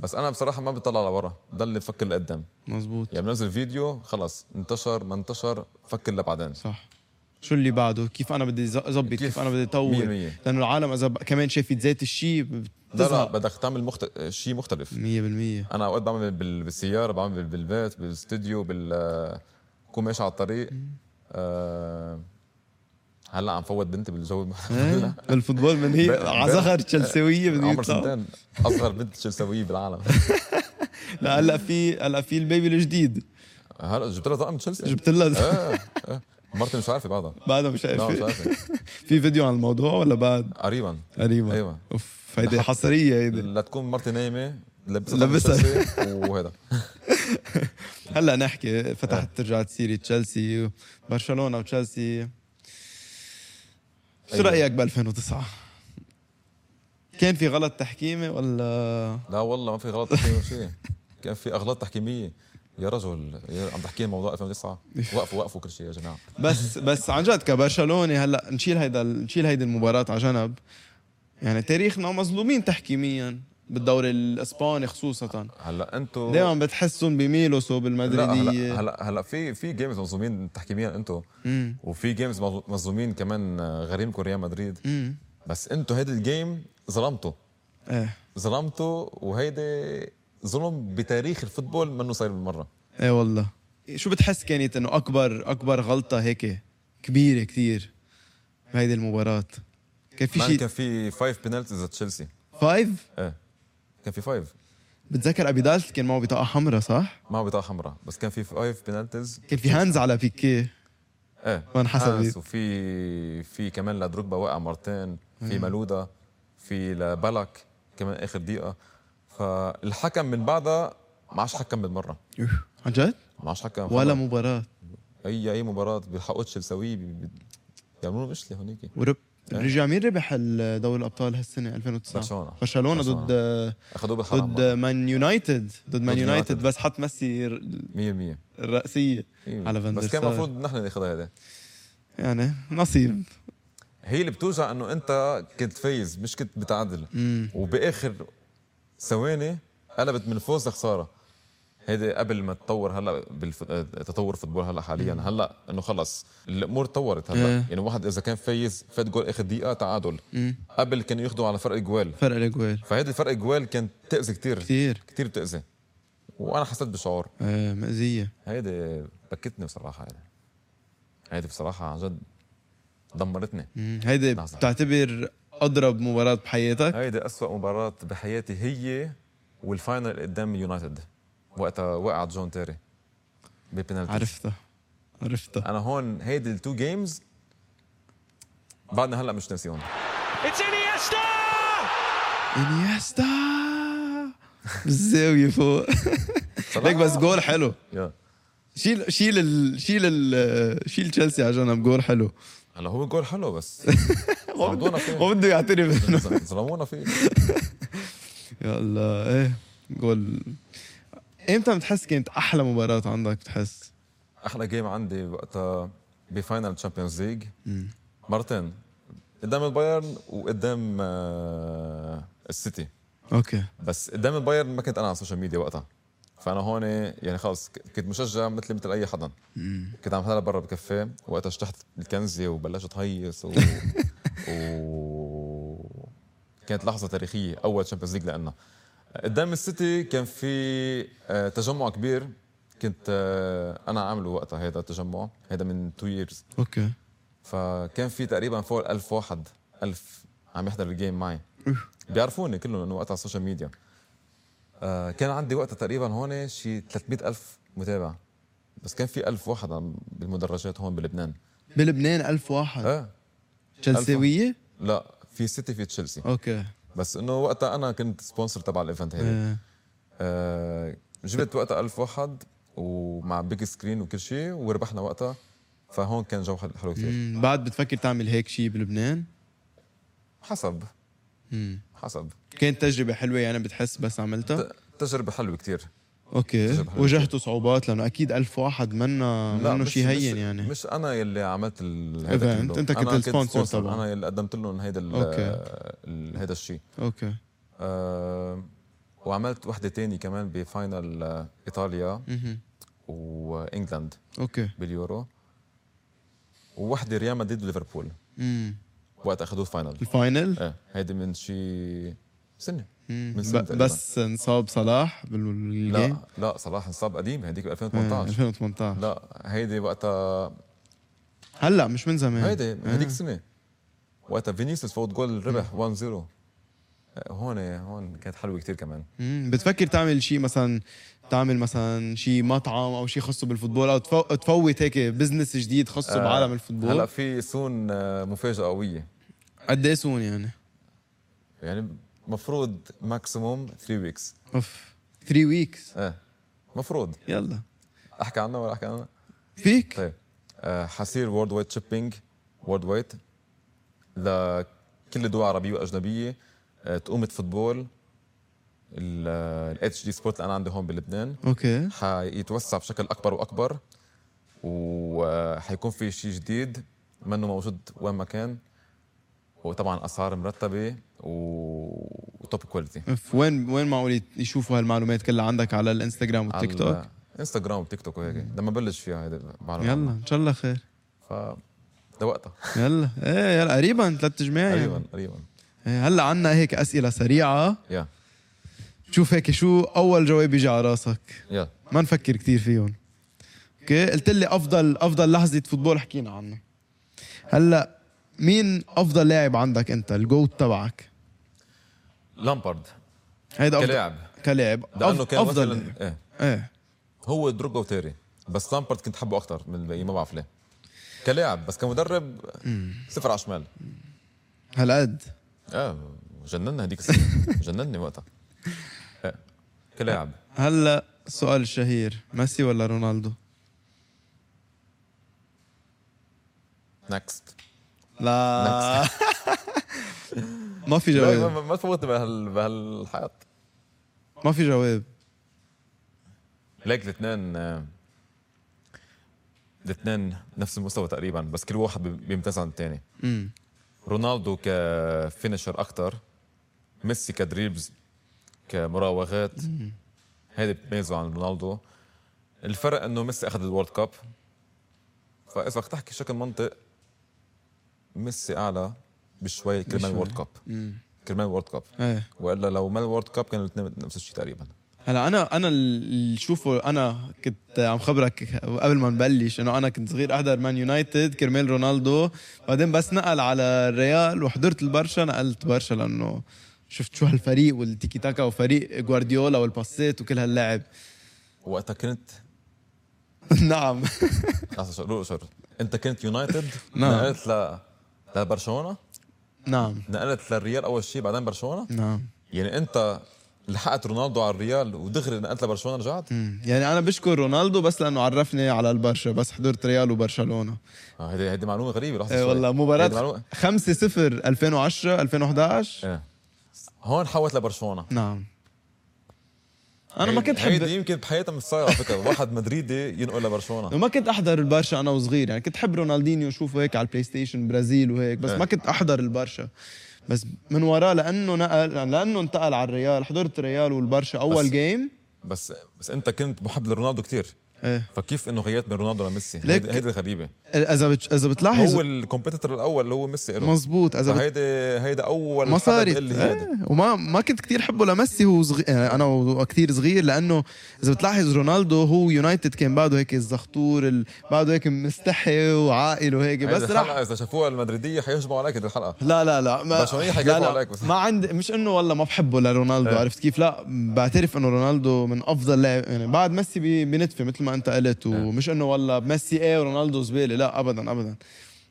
S2: بس انا بصراحه ما بطلع لورا ضل بفكر لقدام
S1: مزبوط
S2: يعني بنزل فيديو خلص انتشر ما انتشر فكر لبعدين
S1: صح شو اللي بعده كيف انا بدي ز- زبط كيف,
S2: كيف؟
S1: كيف انا بدي طور
S2: مية بالمية.
S1: لانه العالم اذا ب- كمان شافت ذات الشيء
S2: لا لا
S1: بتزهق
S2: بدك تعمل مخت... شيء مختلف
S1: 100%
S2: انا اوقات بعمل بال- بالسياره بعمل بالبيت بالاستديو بال بكون ماشي على الطريق آه، هلا عم فوت بنتي بالجو
S1: إيه؟ بالفوتبول من هي
S2: ب-
S1: على زغر تشلساويه بده
S2: عمر
S1: يطلع
S2: سنتين اصغر بنت تشيلساويه بالعالم
S1: لا هلا في هلا في البيبي الجديد
S2: هلا جبت لها طقم تشيلسي
S1: جبت لها
S2: آه، آه. مرتي مش عارفه بعدها
S1: بعدها مش
S2: لا مش
S1: عارف
S2: عارفه
S1: في فيديو عن الموضوع ولا بعد
S2: قريبا
S1: قريبا
S2: أيوة.
S1: اوف هيدي حصريه هيدي
S2: لا تكون مرتي نايمه لبسها
S1: لبسها.
S2: لبسها تشيلسي وهذا
S1: هلا نحكي
S2: آه.
S1: فتحت رجعت سيري تشيلسي برشلونه وتشيلسي شو
S2: أيوة.
S1: رايك ب 2009 كان في غلط تحكيمي ولا
S2: لا والله ما في غلط تحكيمي ولا شيء كان في اغلاط تحكيميه يا رجل يا عم تحكي موضوع 2009 وقفوا وقفوا كل شيء يا جماعه
S1: بس بس عن جد كبرشلوني هلا نشيل هيدا نشيل هيدي المباراه على جنب يعني تاريخنا مظلومين تحكيميا بالدوري الاسباني خصوصا
S2: هلا انتم
S1: دائما بتحسهم بميلوا صوب
S2: لا
S1: المدريديه
S2: هلا هلا هلا في في جيمز مظلومين تحكيميا انتم
S1: مم.
S2: وفي جيمز مظ- مظلومين كمان آه، غريمكم ريال مدريد
S1: مم.
S2: بس انتم هيدا الجيم ظلمته
S1: ايه
S2: ظلمته وهيدي ظلم بتاريخ الفوتبول منه صاير بالمره
S1: ايه والله شو بتحس كانت انه اكبر اكبر غلطه هيك كبيره كثير بهيدي المباراه كان في
S2: مان
S1: شيء
S2: كان في فايف بينالتيز تشيلسي
S1: فايف
S2: ايه كان في فايف
S1: بتذكر ابي دالت كان معه بطاقه حمراء صح؟
S2: معه بطاقه حمراء بس كان في فايف بينالتيز
S1: كان في هانز على بيكيه
S2: ايه
S1: ما انحسبت.
S2: آنس وفي في كمان لدروجبا وقع مرتين في مالودا في لبلك كمان اخر دقيقه فالحكم من بعدها ما عادش حكم بالمره
S1: عن جد؟
S2: ما عادش حكم
S1: ولا مباراه
S2: اي اي مباراه بيلحقوا تشيلساوي بي- بي- بيعملوا مشكله هونيك
S1: ورب رجع مين ربح دوري الابطال هالسنه 2009
S2: إيه. برشلونة.
S1: برشلونه
S2: برشلونة.
S1: ضد
S2: اخذوه بالحرام
S1: ضد مان يونايتد ضد مان يونايتد
S2: ضد يونايتد.
S1: بس حط ميسي ال-
S2: 100%
S1: الراسيه على فان دير
S2: إيه. بس كان
S1: سار.
S2: المفروض نحن ناخذها هذا
S1: يعني نصيب
S2: هي اللي بتوجع انه انت كنت فايز مش كنت بتعادل وباخر ثواني قلبت من فوز لخساره هيدي قبل ما تطور هلا بالتطور الفوتبول هلا حاليا هلا انه خلص الامور تطورت هلا
S1: إيه.
S2: يعني واحد اذا كان فايز فات جول اخر دقيقه تعادل قبل كانوا ياخذوا على فرق جوال
S1: فرق الاجوال
S2: فهيدي فرق جوال كانت تاذي كثير
S1: كثير
S2: كثير بتاذي وانا حسيت بشعور
S1: آه، مأزيه
S2: هيدي بكتني بصراحه يعني هيدي بصراحه عن جد دمرتني
S1: مم. هيدي
S2: لحظة.
S1: بتعتبر اضرب مباراه بحياتك
S2: هيدي أسوأ مباراة بحياتي هي والفاينل قدام يونايتد وقتها وقع جون تيري ببنالتي
S1: عرفتها عرفتها
S2: انا هون هيدي التو جيمز بعدنا هلا مش ناسيهم
S4: It's Iniesta!
S1: انيستا بالزاويه فوق ليك بس جول حلو
S2: يا.
S1: شيل شيل ال... شيل ال... شيل تشيلسي على جنب جول حلو
S2: هلا هو جول حلو بس ظلمونا فيه
S1: ما بده يعترف انه
S2: ظلمونا فيه
S1: يا الله ايه جول امتى بتحس كانت احلى مباراه عندك بتحس
S2: احلى جيم عندي وقتها بفاينل تشامبيونز ليج مرتين قدام البايرن وقدام آه، السيتي
S1: اوكي
S2: بس قدام البايرن ما كنت انا على السوشيال ميديا وقتها فانا هون يعني خلص ك- كنت مشجع مثلي مثل اي حدا كنت عم هلا برا بكافيه وقتها شطحت الكنزه وبلشت هيص و... و... كانت لحظه تاريخيه اول تشامبيونز ليج لنا قدام السيتي كان في آه، تجمع كبير كنت آه، انا عامله وقتها هذا التجمع هذا من 2 ييرز
S1: اوكي
S2: فكان في تقريبا فوق الألف واحد ألف عم يحضر الجيم معي بيعرفوني كلهم انه وقتها على السوشيال ميديا آه، كان عندي وقتها تقريبا هون شي 300 ألف متابع بس كان في ألف واحد عم- بالمدرجات هون بلبنان
S1: بلبنان ألف واحد
S2: اه
S1: تشيلساوية
S2: لا في سيتي في تشيلسي
S1: اوكي
S2: بس انه وقتها انا كنت سبونسر تبع الايفنت هذا
S1: آه.
S2: آه جبت وقتها ألف واحد ومع بيج سكرين وكل شيء وربحنا وقتها فهون كان جو حل- حلو كثير
S1: مم، بعد بتفكر تعمل هيك شيء بلبنان
S2: حسب
S1: مم.
S2: حسب
S1: كانت تجربة حلوة يعني بتحس بس عملتها
S2: ت- تجربة حلوة كثير
S1: اوكي
S2: تجربة حلوة.
S1: واجهتوا صعوبات لانه اكيد ألف واحد منا منه شيء هين يعني
S2: مش انا يلي عملت ال- هيدا
S1: Event.
S2: كله.
S1: أنت كنت
S2: أنا
S1: الsponsor
S2: sponsor.
S1: تبعه.
S2: انا يلي قدمت لهم هيدا ال-
S1: أوكي.
S2: ال- هيدا الشيء
S1: اوكي
S2: آه، وعملت وحده تاني كمان بفاينل آه، ايطاليا
S1: مهم.
S2: وانجلند
S1: اوكي
S2: باليورو ووحده ريال مدريد وليفربول
S1: مم.
S2: وقت اخذوه فاينل
S1: الفاينل
S2: ايه هيدي من شي سنه
S1: مم.
S2: من
S1: ب-
S2: سنة تقريباً.
S1: بس انصاب صلاح بالجيم آه،
S2: لا لا صلاح انصاب قديم هيديك ب 2018
S1: 2018
S2: لا هيدي وقتها
S1: هلا مش من زمان
S2: هيدي هديك
S1: آه.
S2: السنه وقتها فينيسيوس فوت جول ربح 1-0 آه، هون هون كانت حلوه كتير كمان
S1: مم. بتفكر تعمل شيء مثلا تعمل مثلا شيء مطعم او شيء خاصه بالفوتبول او تفو- تفوت هيك بزنس جديد خاصه
S2: آه،
S1: بعالم الفوتبول
S2: هلا في سون آه، مفاجاه قويه
S1: قد ايه سون يعني
S2: يعني مفروض ماكسيموم 3 ويكس
S1: اوف 3 ويكس
S2: ايه مفروض
S1: يلا
S2: احكي عنها ولا احكي عنها
S1: فيك
S2: طيب آه، حصير وورد وايد شيبينج وورد وايد لكل دول عربيه واجنبيه آه، تقومة فوتبول الاتش دي سبورت اللي انا عندي هون بلبنان
S1: اوكي
S2: حيتوسع بشكل اكبر واكبر وحيكون في شيء جديد منه موجود وين ما كان وطبعا اسعار مرتبه و- وتوب كواليتي
S1: اوف وين وين معقول يت- يشوفوا هالمعلومات كلها عندك على الانستغرام والتيك توك
S2: انستغرام وتيك توك وهيك لما بلش فيها هيدا المعلومة
S1: يلا ان شاء الله خير
S2: ف ده وقتها
S1: يلا ايه يلا قريبا ثلاث تجميع
S2: قريبا قريبا
S1: إيه، هلا عنا هيك اسئله سريعه
S2: يا
S1: شوف هيك شو اول جواب يجي على راسك
S2: يا
S1: ما نفكر كتير فيهم اوكي قلت لي افضل افضل لحظه فوتبول حكينا عنها هلا مين افضل لاعب عندك انت الجوت تبعك
S2: لامبارد
S1: هيدا أفضل-
S2: كلاعب.
S1: كلاعب
S2: لانه
S1: أف-
S2: كان
S1: افضل
S2: مثلا ايه
S1: ايه
S2: هو دروجبا وتيري بس لامبارد كنت حبه اكثر من الباقيين ما بعرف ليه كلاعب بس كمدرب صفر على الشمال
S1: هالقد
S2: اه جننا هديك السنه جنني وقتها إيه. كلاعب
S1: هلا السؤال الشهير ميسي ولا رونالدو
S2: نكست
S1: لا ما في
S2: لا ما-
S1: جواب
S2: ما- ما تفوتني بهال بهالحياه
S1: ما في جواب
S2: ليك الاثنين آه، الاثنين نفس المستوى تقريبا بس كل واحد بي- بيمتاز عن الثاني
S1: امم
S2: رونالدو كفينشر اكثر ميسي كدريبز كمراوغات هيدي بتميزه عن رونالدو الفرق انه ميسي اخذ الورد كاب فاذا بدك تحكي شكل منطق ميسي اعلى بشوي كرمال
S1: بشوي.
S2: الورد كاب كرمال الورد كاب
S1: ايه
S2: والا لو ما الورد كاب كانوا الاثنين نفس الشيء تقريبا
S1: هلا انا انا اللي شوفه انا كنت عم خبرك قبل ما نبلش انه انا كنت صغير احضر مان يونايتد كرمال رونالدو بعدين بس نقل على الريال وحضرت البرشا نقلت برشا لانه شفت شو هالفريق والتيكي تاكا وفريق جوارديولا والباسيت وكل هاللعب
S2: وقتها كنت
S1: نعم
S2: لحظة شو- روق شر انت كنت يونايتد
S1: نعم.
S2: نقلت ل لبرشلونه
S1: نعم
S2: نقلت للريال اول شيء بعدين برشلونه
S1: نعم
S2: يعني انت لحقت رونالدو على الريال ودغري نقلت لبرشلونه رجعت
S1: مم. يعني انا بشكر رونالدو بس لانه عرفني على البرشا بس حضرت ريال وبرشلونه
S2: آه، هيدي هيدي معلومه غريبه لحظه
S1: إيه
S2: شوي.
S1: والله
S2: هيدي
S1: مباراه
S2: معلومة-
S1: 5 0 2010 2011
S2: ايه هون حولت لبرشلونه
S1: نعم انا ما
S2: هيدي-
S1: كنت حب
S2: هيدي يمكن بحياتها مش صايره على فكره واحد مدريدي ينقل لبرشلونه
S1: ما كنت احضر البرشا انا وصغير يعني كنت احب رونالدينيو شوفه هيك على البلاي ستيشن برازيل وهيك بس
S2: إيه.
S1: ما كنت احضر البرشا بس من وراه لانه نقل لانه انتقل على الريال حضرت الريال والبرشا اول
S2: بس-
S1: جيم
S2: بس بس انت كنت محب لرونالدو كثير
S1: إيه.
S2: فكيف انه غيرت من رونالدو لميسي
S1: ليك-
S2: هيدي هيدي الغريبه
S1: اذا إيه، بت... اذا بتلاحظ
S2: هو الكومبيتيتور الاول اللي هو ميسي له
S1: مزبوط اذا بت...
S2: فهيدي هيدا اول
S1: ما
S2: حدا
S1: صارت
S2: بيقول لي هيدا.
S1: إيه. وما ما كنت كتير حبه لميسي هو صغير يعني انا وكتير صغير لانه اذا بتلاحظ رونالدو هو يونايتد كان بعده هيك الزغطور ال... بعده هيك مستحي وعاقل وهيك
S2: هيدي
S1: بس راح
S2: الحلقه اذا شافوها المدريديه حيهجموا عليك هيدي الحلقه
S1: لا لا لا ما
S2: برشلونية حيجيبوا
S1: لا لا
S2: عليك بس.
S1: ما عندي مش انه والله ما بحبه لرونالدو
S2: إيه.
S1: عرفت كيف لا بعترف انه رونالدو من افضل لاعب يعني بعد ميسي بي- بنتفه مثل ما انت قلت
S2: إيه.
S1: ومش انه والله ميسي ايه ورونالدو زباله لا ابدا ابدا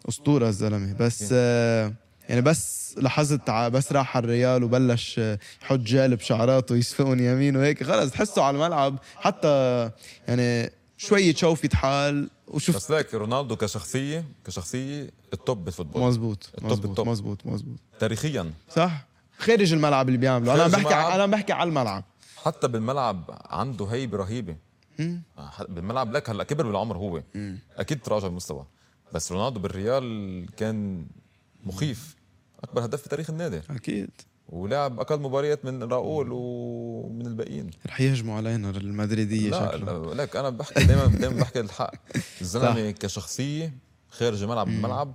S1: اسطوره الزلمه بس آه يعني بس لاحظت ع- بس راح على الريال وبلش آه، يحط جال بشعراته يسفقهم يمين وهيك خلص تحسه على الملعب حتى يعني شوية شوفة حال وشفت
S2: بس ليك رونالدو كشخصيه كشخصيه التوب بالفوتبول
S1: مزبوط
S2: التوب
S1: مزبوط
S2: التوب.
S1: مزبوط مزبوط
S2: تاريخيا
S1: صح خارج الملعب اللي بيعمله انا عم
S2: خارج
S1: بحكي
S2: الملعب.
S1: ع- انا عم بحكي على الملعب
S2: حتى بالملعب عنده هيبه رهيبه ح- بالملعب لك هلا كبر بالعمر هو اكيد تراجع المستوى بس رونالدو بالريال كان مخيف اكبر هدف في تاريخ النادي
S1: اكيد
S2: ولعب اقل مباريات من راؤول ومن الباقيين
S1: رح يهجموا علينا المدريديه
S2: لا
S1: شكله
S2: لا، لك انا بحكي دائما دائما بحكي الحق الزلمه كشخصيه خارج الملعب الملعب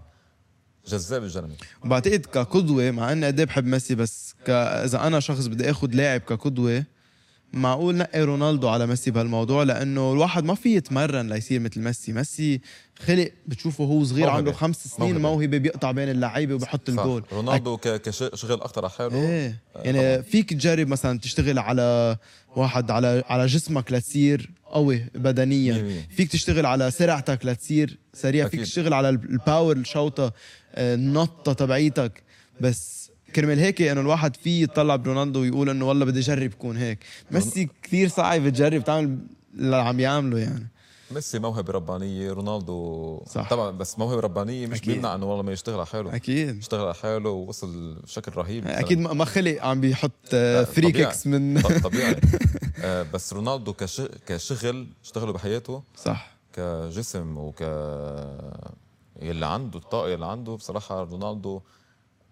S2: جذاب الزلمه
S1: وبعتقد كقدوه مع اني قد إيه بحب ميسي بس ك... اذا انا شخص بدي اخذ لاعب كقدوه معقول نقي رونالدو على ميسي بهالموضوع لانه الواحد ما في يتمرن ليصير مثل ميسي ميسي خلق بتشوفه هو صغير
S2: موهبة.
S1: عنده خمس سنين
S2: موهبة.
S1: موهبه بيقطع بين اللعيبه وبحط الجول
S2: رونالدو ك- كشغل اخطر على حاله
S1: ايه
S2: آه،
S1: يعني فيك تجرب مثلا تشتغل على واحد على على جسمك لتصير قوي
S2: مية
S1: بدنيا
S2: مية.
S1: فيك تشتغل على سرعتك لتصير سريع فيك
S2: أكيد.
S1: تشتغل على ال- الباور الشوطه آه، النطه تبعيتك بس كرمال هيك انه الواحد فيه يطلع برونالدو ويقول انه والله بدي اجرب كون هيك ميسي كثير صعب تجرب تعمل اللي عم يعمله يعني
S2: ميسي موهبه ربانيه رونالدو
S1: صح.
S2: صح. طبعا بس موهبه ربانيه مش
S1: أكيد.
S2: بيمنع انه والله ما يشتغل على حاله
S1: اكيد
S2: اشتغل على حاله ووصل بشكل رهيب
S1: اكيد ما ما خلق عم بيحط
S2: لا،
S1: فري
S2: طبيعي.
S1: كيكس آه، من
S2: ط- طبيعي آه، بس رونالدو كش... كشغل اشتغله بحياته
S1: صح
S2: كجسم وك اللي عنده الطاقه اللي عنده بصراحه رونالدو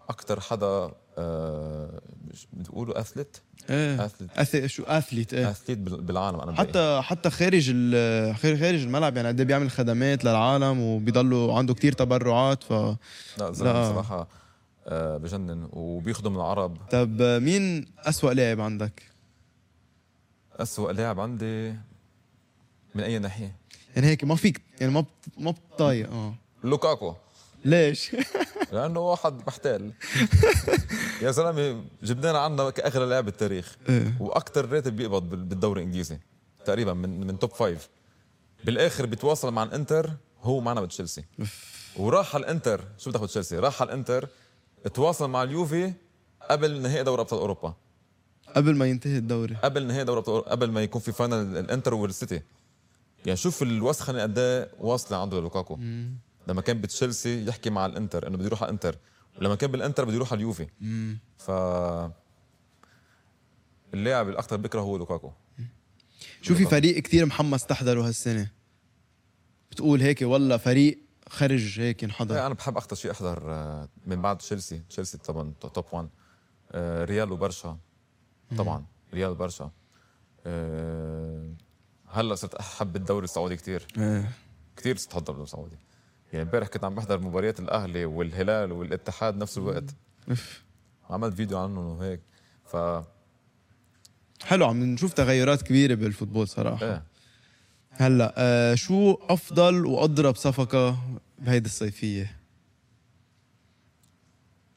S2: اكثر حدا آه، مش- بيقولوا اثليت
S1: ايه
S2: اثليت
S1: أث... شو اثليت ايه
S2: اثليت بال- بالعالم انا برأيي.
S1: حتى حتى خارج ال- خارج خارج الملعب يعني قد إيه بيعمل خدمات للعالم وبيضلوا عنده كتير تبرعات ف
S2: لا زلمه
S1: لا.
S2: بصراحه آه، بجنن وبيخدم العرب
S1: طب مين أسوأ لاعب عندك؟
S2: أسوأ لاعب عندي من أي ناحية؟
S1: يعني هيك ما فيك يعني ما بت- ما بتطايق اه
S2: لوكاكو
S1: ليش؟
S2: لأنه واحد محتال يا زلمة جبنانا عنا كأغلى لاعب بالتاريخ
S1: إيه.
S2: وأكثر راتب بيقبض بال- بالدوري الإنجليزي تقريبا من من توب فايف بالآخر بيتواصل مع الإنتر هو معنا بتشيلسي وراح على الإنتر شو بتاخذ تشيلسي؟ راح على الإنتر تواصل مع اليوفي قبل نهائي دوري أبطال أوروبا
S1: قبل ما ينتهي الدوري
S2: قبل نهائي دوري ابطال قبل ما يكون في فاينل الانتر والسيتي يعني شوف الوسخه اللي قد ايه واصله عنده لوكاكو لما كان بتشيلسي يحكي مع الانتر انه بده يروح على الانتر ولما كان بالانتر بده يروح على اليوفي ف اللاعب الاكثر بكره هو لوكاكو
S1: شو في فريق كتير محمس تحضره هالسنة بتقول هيك والله فريق خرج هيك
S2: لا،
S1: انحضر
S2: انا بحب اكثر شيء احضر آه، من بعد تشيلسي تشيلسي طبعا تو- توب 1 آه، ريال وبرشا طبعا ريال وبرشا آه، هلا صرت احب الدوري السعودي كثير
S1: إيه.
S2: كثير بتتحضر بالدوري السعودي يعني امبارح كنت عم بحضر مباريات الاهلي والهلال والاتحاد نفس الوقت
S1: أف.
S2: عملت فيديو عنهم وهيك ف
S1: حلو عم نشوف تغيرات كبيرة بالفوتبول صراحة
S2: ايه
S1: هلا آه شو أفضل وأضرب صفقة بهيدي الصيفية؟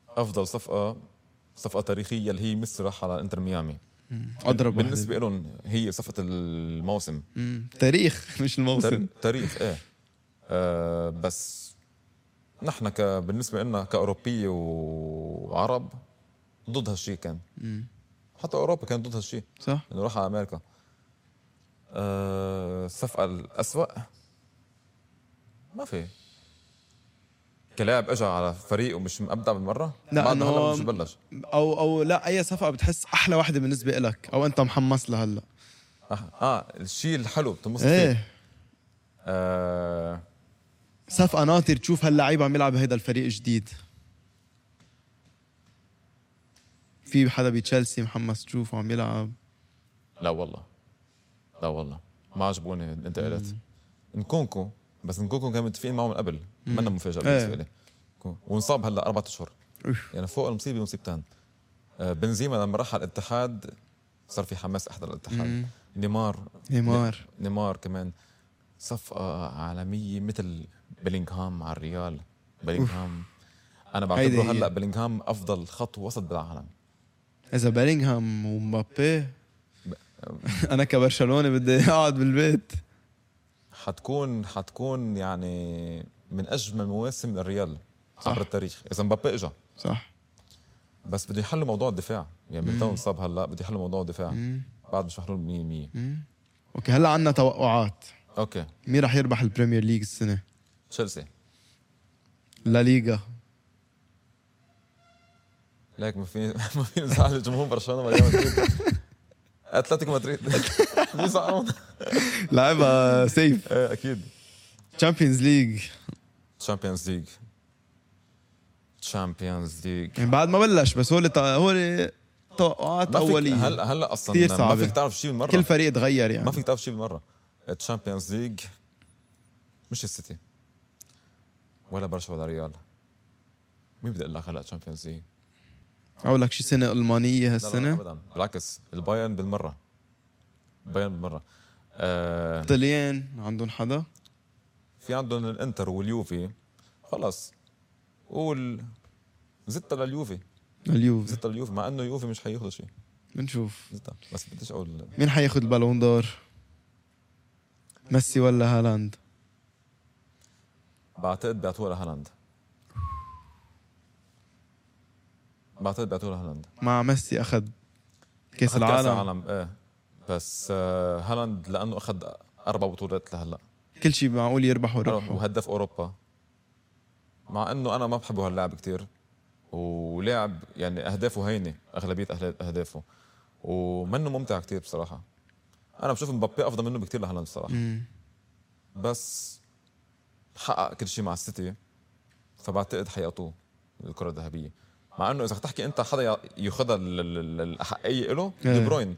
S2: افضل صفقه صفقه تاريخيه اللي هي ميسي راح على انتر ميامي
S1: أضرب وحدة.
S2: بالنسبه لهم هي صفقه الموسم
S1: مم. تاريخ مش
S2: تار-
S1: الموسم
S2: تاريخ ايه آه بس نحن ك بالنسبه لنا كاوروبيه وعرب ضد هالشيء كان حتى اوروبا كان ضد هالشيء
S1: صح
S2: انه راح على امريكا آه، الصفقه الاسوأ ما في كلاعب اجى على فريق ومش مبدع بالمره
S1: لا،
S2: بعد ما
S1: إنه-
S2: هلا مش بلش
S1: او او لا اي صفقه بتحس احلى واحده بالنسبه لك او انت محمس لها هلا
S2: أح- اه الشيء الحلو بتنبسط فيه
S1: ايه
S2: آه
S1: صفقه ناطر تشوف هاللعيب عم يلعب هيدا الفريق جديد في حدا بتشيلسي محمس تشوفه عم يلعب
S2: لا والله لا والله ما عجبوني الانتقالات نكونكو بس نكونكو كان متفقين معه من قبل منا مفاجاه
S1: إيه.
S2: بالنسبه لي كون- ونصاب هلا اربع اشهر يعني فوق المصيبه مصيبتين آه، بنزيما لما راح على الاتحاد صار في حماس احضر الاتحاد نيمار
S1: نيمار.
S2: نيمار كمان صفقه عالميه مثل بلينغهام على الريال بلينغهام انا
S1: هيدي
S2: بعتبره
S1: هي.
S2: هلا بلينغهام افضل خط وسط بالعالم
S1: اذا بيلينغهام ومبابي انا كبرشلونه بدي اقعد بالبيت
S2: حتكون حتكون يعني من اجمل مواسم الريال عبر التاريخ اذا مبابي اجى
S1: صح
S2: بس بده يحلوا موضوع الدفاع يعني من تو انصاب هلا بده يحلوا موضوع الدفاع بعد مش محلول 100%
S1: اوكي هلا عندنا توقعات
S2: اوكي
S1: مين رح يربح البريمير ليج السنه
S2: تشيلسي
S1: لا ليغا
S2: ليك ما في ما في نزاع جمهور برشلونه وريال مدريد اتلتيكو مدريد بيزعلون
S1: لعبها سيف
S2: ايه اكيد
S1: تشامبيونز ليج
S2: تشامبيونز ليج تشامبيونز ليج
S1: يعني بعد ما بلش بس هو اللي هو اللي توقعات
S2: ما فيك
S1: اوليه
S2: هلا هلا
S1: كتير
S2: اصلا ما
S1: صعبة.
S2: فيك تعرف شيء بالمره
S1: كل فريق تغير يعني
S2: ما فيك تعرف شيء بالمره الشامبيونز ليج مش السيتي ولا برشا ولا ريال مين بدي اقول لك هلا تشامبيونز ليج
S1: اقول لك شي سنه المانيه هالسنه
S2: ابدا بالعكس البايرن بالمره البايرن بالمره آه
S1: طليان عندهم حدا
S2: في عندهم الانتر واليوفي خلص قول زدت لليوفي
S1: اليوفي
S2: زدت لليوفي مع انه اليوفي مش حياخذوا شيء
S1: بنشوف
S2: زدت بس بديش اقول
S1: مين حياخد البالون دور ميسي ولا هالاند
S2: بعتقد بيعطوها لهالاند بعتقد بيعطوها لهالاند
S1: مع ميسي اخذ كاس
S2: أخذ كأس
S1: العالم
S2: العالم ايه بس آه، هالاند لانه اخذ اربع بطولات لهلا
S1: كل شيء معقول يربحوا يربحوا
S2: وهدف اوروبا مع انه انا ما بحبه هاللاعب كتير ولاعب يعني اهدافه هينه اغلبيه أهل- اهدافه ومنه ممتع كتير بصراحه انا بشوف مبابي افضل منه بكتير لهالاند بصراحه بس حقق كل شيء مع السيتي فبعتقد حيعطوه الكره الذهبيه مع انه اذا رح تحكي انت حدا ياخذها الاحقيه له
S1: إيه.
S2: دي بروين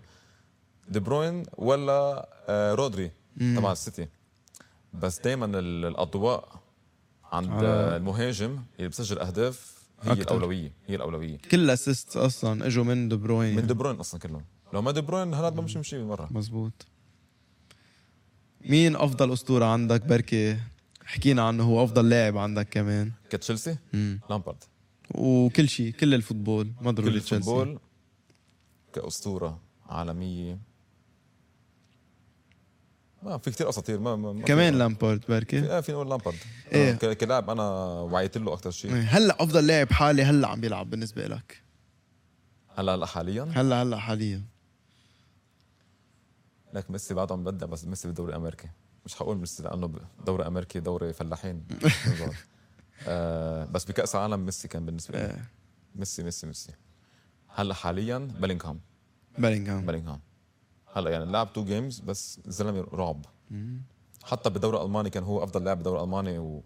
S2: دي بروين ولا آه، رودري تبع السيتي بس دائما الاضواء عند
S1: على-
S2: المهاجم اللي بسجل اهداف هي
S1: آه. أكتر.
S2: الاولويه هي الاولويه
S1: كل الاسيست اصلا اجوا من دي بروين
S2: من
S1: يعني.
S2: دي بروين اصلا كلهم لو ما دي بروين هلا ما مش مشي مره
S1: مزبوط مين افضل اسطوره عندك بركي حكينا عنه هو افضل لاعب عندك كمان
S2: كتشيلسي لامبارد
S1: وكل شيء كل الفوتبول ما
S2: كل
S1: ضروري تشيلسي
S2: الفوتبول كاسطوره عالميه ما في كتير اساطير ما, ما ما في-
S1: كمان لامبارد بركي
S2: ايه في نقول لامبارد
S1: إيه.
S2: إيه. كلاعب انا وعيت له اكثر شيء
S1: هلا افضل لاعب حالي هلا عم بيلعب بالنسبه لك
S2: هلا هلا حاليا
S1: هلا هلا حاليا
S2: لك ميسي بعده عم بدع بس ميسي بالدوري الامريكي مش حقول ميسي لانه دوري امريكي دوري فلاحين آه بس بكاس العالم ميسي كان بالنسبه لي
S1: إيه.
S2: ميسي ميسي ميسي هلا حاليا بلينغهام
S1: بلينغهام
S2: بلينغهام هلا يعني لعب تو جيمز بس الزلمه رعب حتى بالدوري الالماني كان هو افضل لاعب بالدوري الالماني و...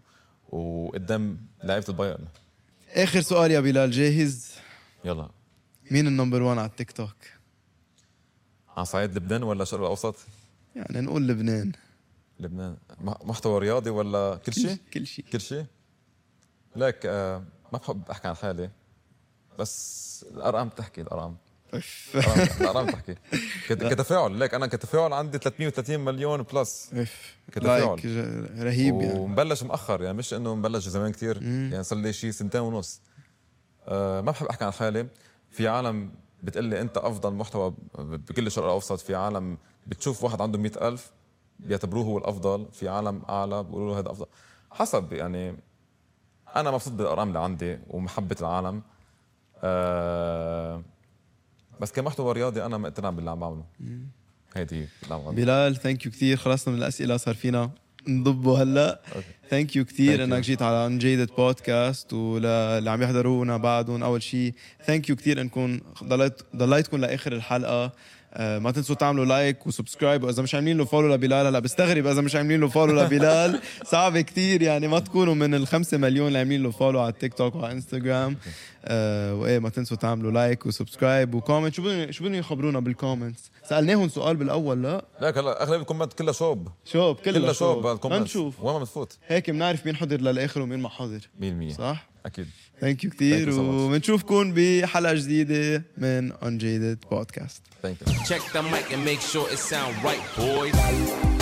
S2: وقدام لعيبه البايرن
S1: اخر سؤال يا بلال جاهز
S2: يلا
S1: مين النمبر 1 على التيك توك
S2: على صعيد لبنان ولا الشرق الاوسط؟
S1: يعني نقول لبنان
S2: لبنان مح- محتوى رياضي ولا كل شيء؟
S1: كل شيء
S2: كل شيء؟ لك آه ما بحب احكي عن حالي بس الارقام بتحكي الارقام
S1: أف.
S2: الأرقام- الارقام بتحكي كت- كتفاعل لك انا كتفاعل عندي 330 مليون بلس
S1: اف
S2: كتفاعل.
S1: لايك ج- رهيب يعني
S2: ومبلش مأخر يعني مش انه مبلش زمان كتير يعني صار لي شيء سنتين ونص أه ما بحب احكي عن حالي في عالم بتقول لي انت افضل محتوى ب- بكل الشرق الاوسط في عالم بتشوف واحد عنده مئة ألف بيعتبروه هو الافضل في عالم اعلى بيقولوا له هذا افضل حسب يعني انا مبسوط بالارقام اللي عندي ومحبه العالم أه بس كمحتوى رياضي انا مقتنع باللي عم بعمله هيدي هي اللي عم بعمله.
S1: بلال ثانك يو كثير خلصنا من الاسئله صار فينا نضبه هلا ثانك يو
S2: Thank
S1: كثير
S2: you.
S1: انك جيت على انجيدد بودكاست واللي عم يحضرونا بعدهم اول شيء ثانك يو كثير انكم ضليت ضليتكم لاخر الحلقه آه، ما تنسوا تعملوا لايك وسبسكرايب واذا مش عاملين له فولو لبلال هلا بستغرب اذا مش عاملين له فولو لبلال صعب كتير يعني ما تكونوا من الخمسة مليون اللي عاملين له فولو على التيك توك وعلى انستغرام آه، وايه ما تنسوا تعملوا لايك وسبسكرايب وكومنت شو بدهم شو بدهم يخبرونا بالكومنتس سالناهم سؤال بالاول لا
S2: لك هلا اغلب الكومنت كلها شوب
S1: شوب كلها
S2: كلها شوب
S1: ما
S2: الكومنت
S1: نشوف
S2: وين ما بتفوت
S1: هيك بنعرف مين حضر للاخر ومين ما حضر
S2: 100%
S1: صح
S2: اكيد
S1: ثانك يو كثير
S2: Thank you so much.
S1: وبنشوفكم بحلقه جديده من انجيدد بودكاست
S2: ثانك يو
S5: Check the mic and make sure it sound right, boys.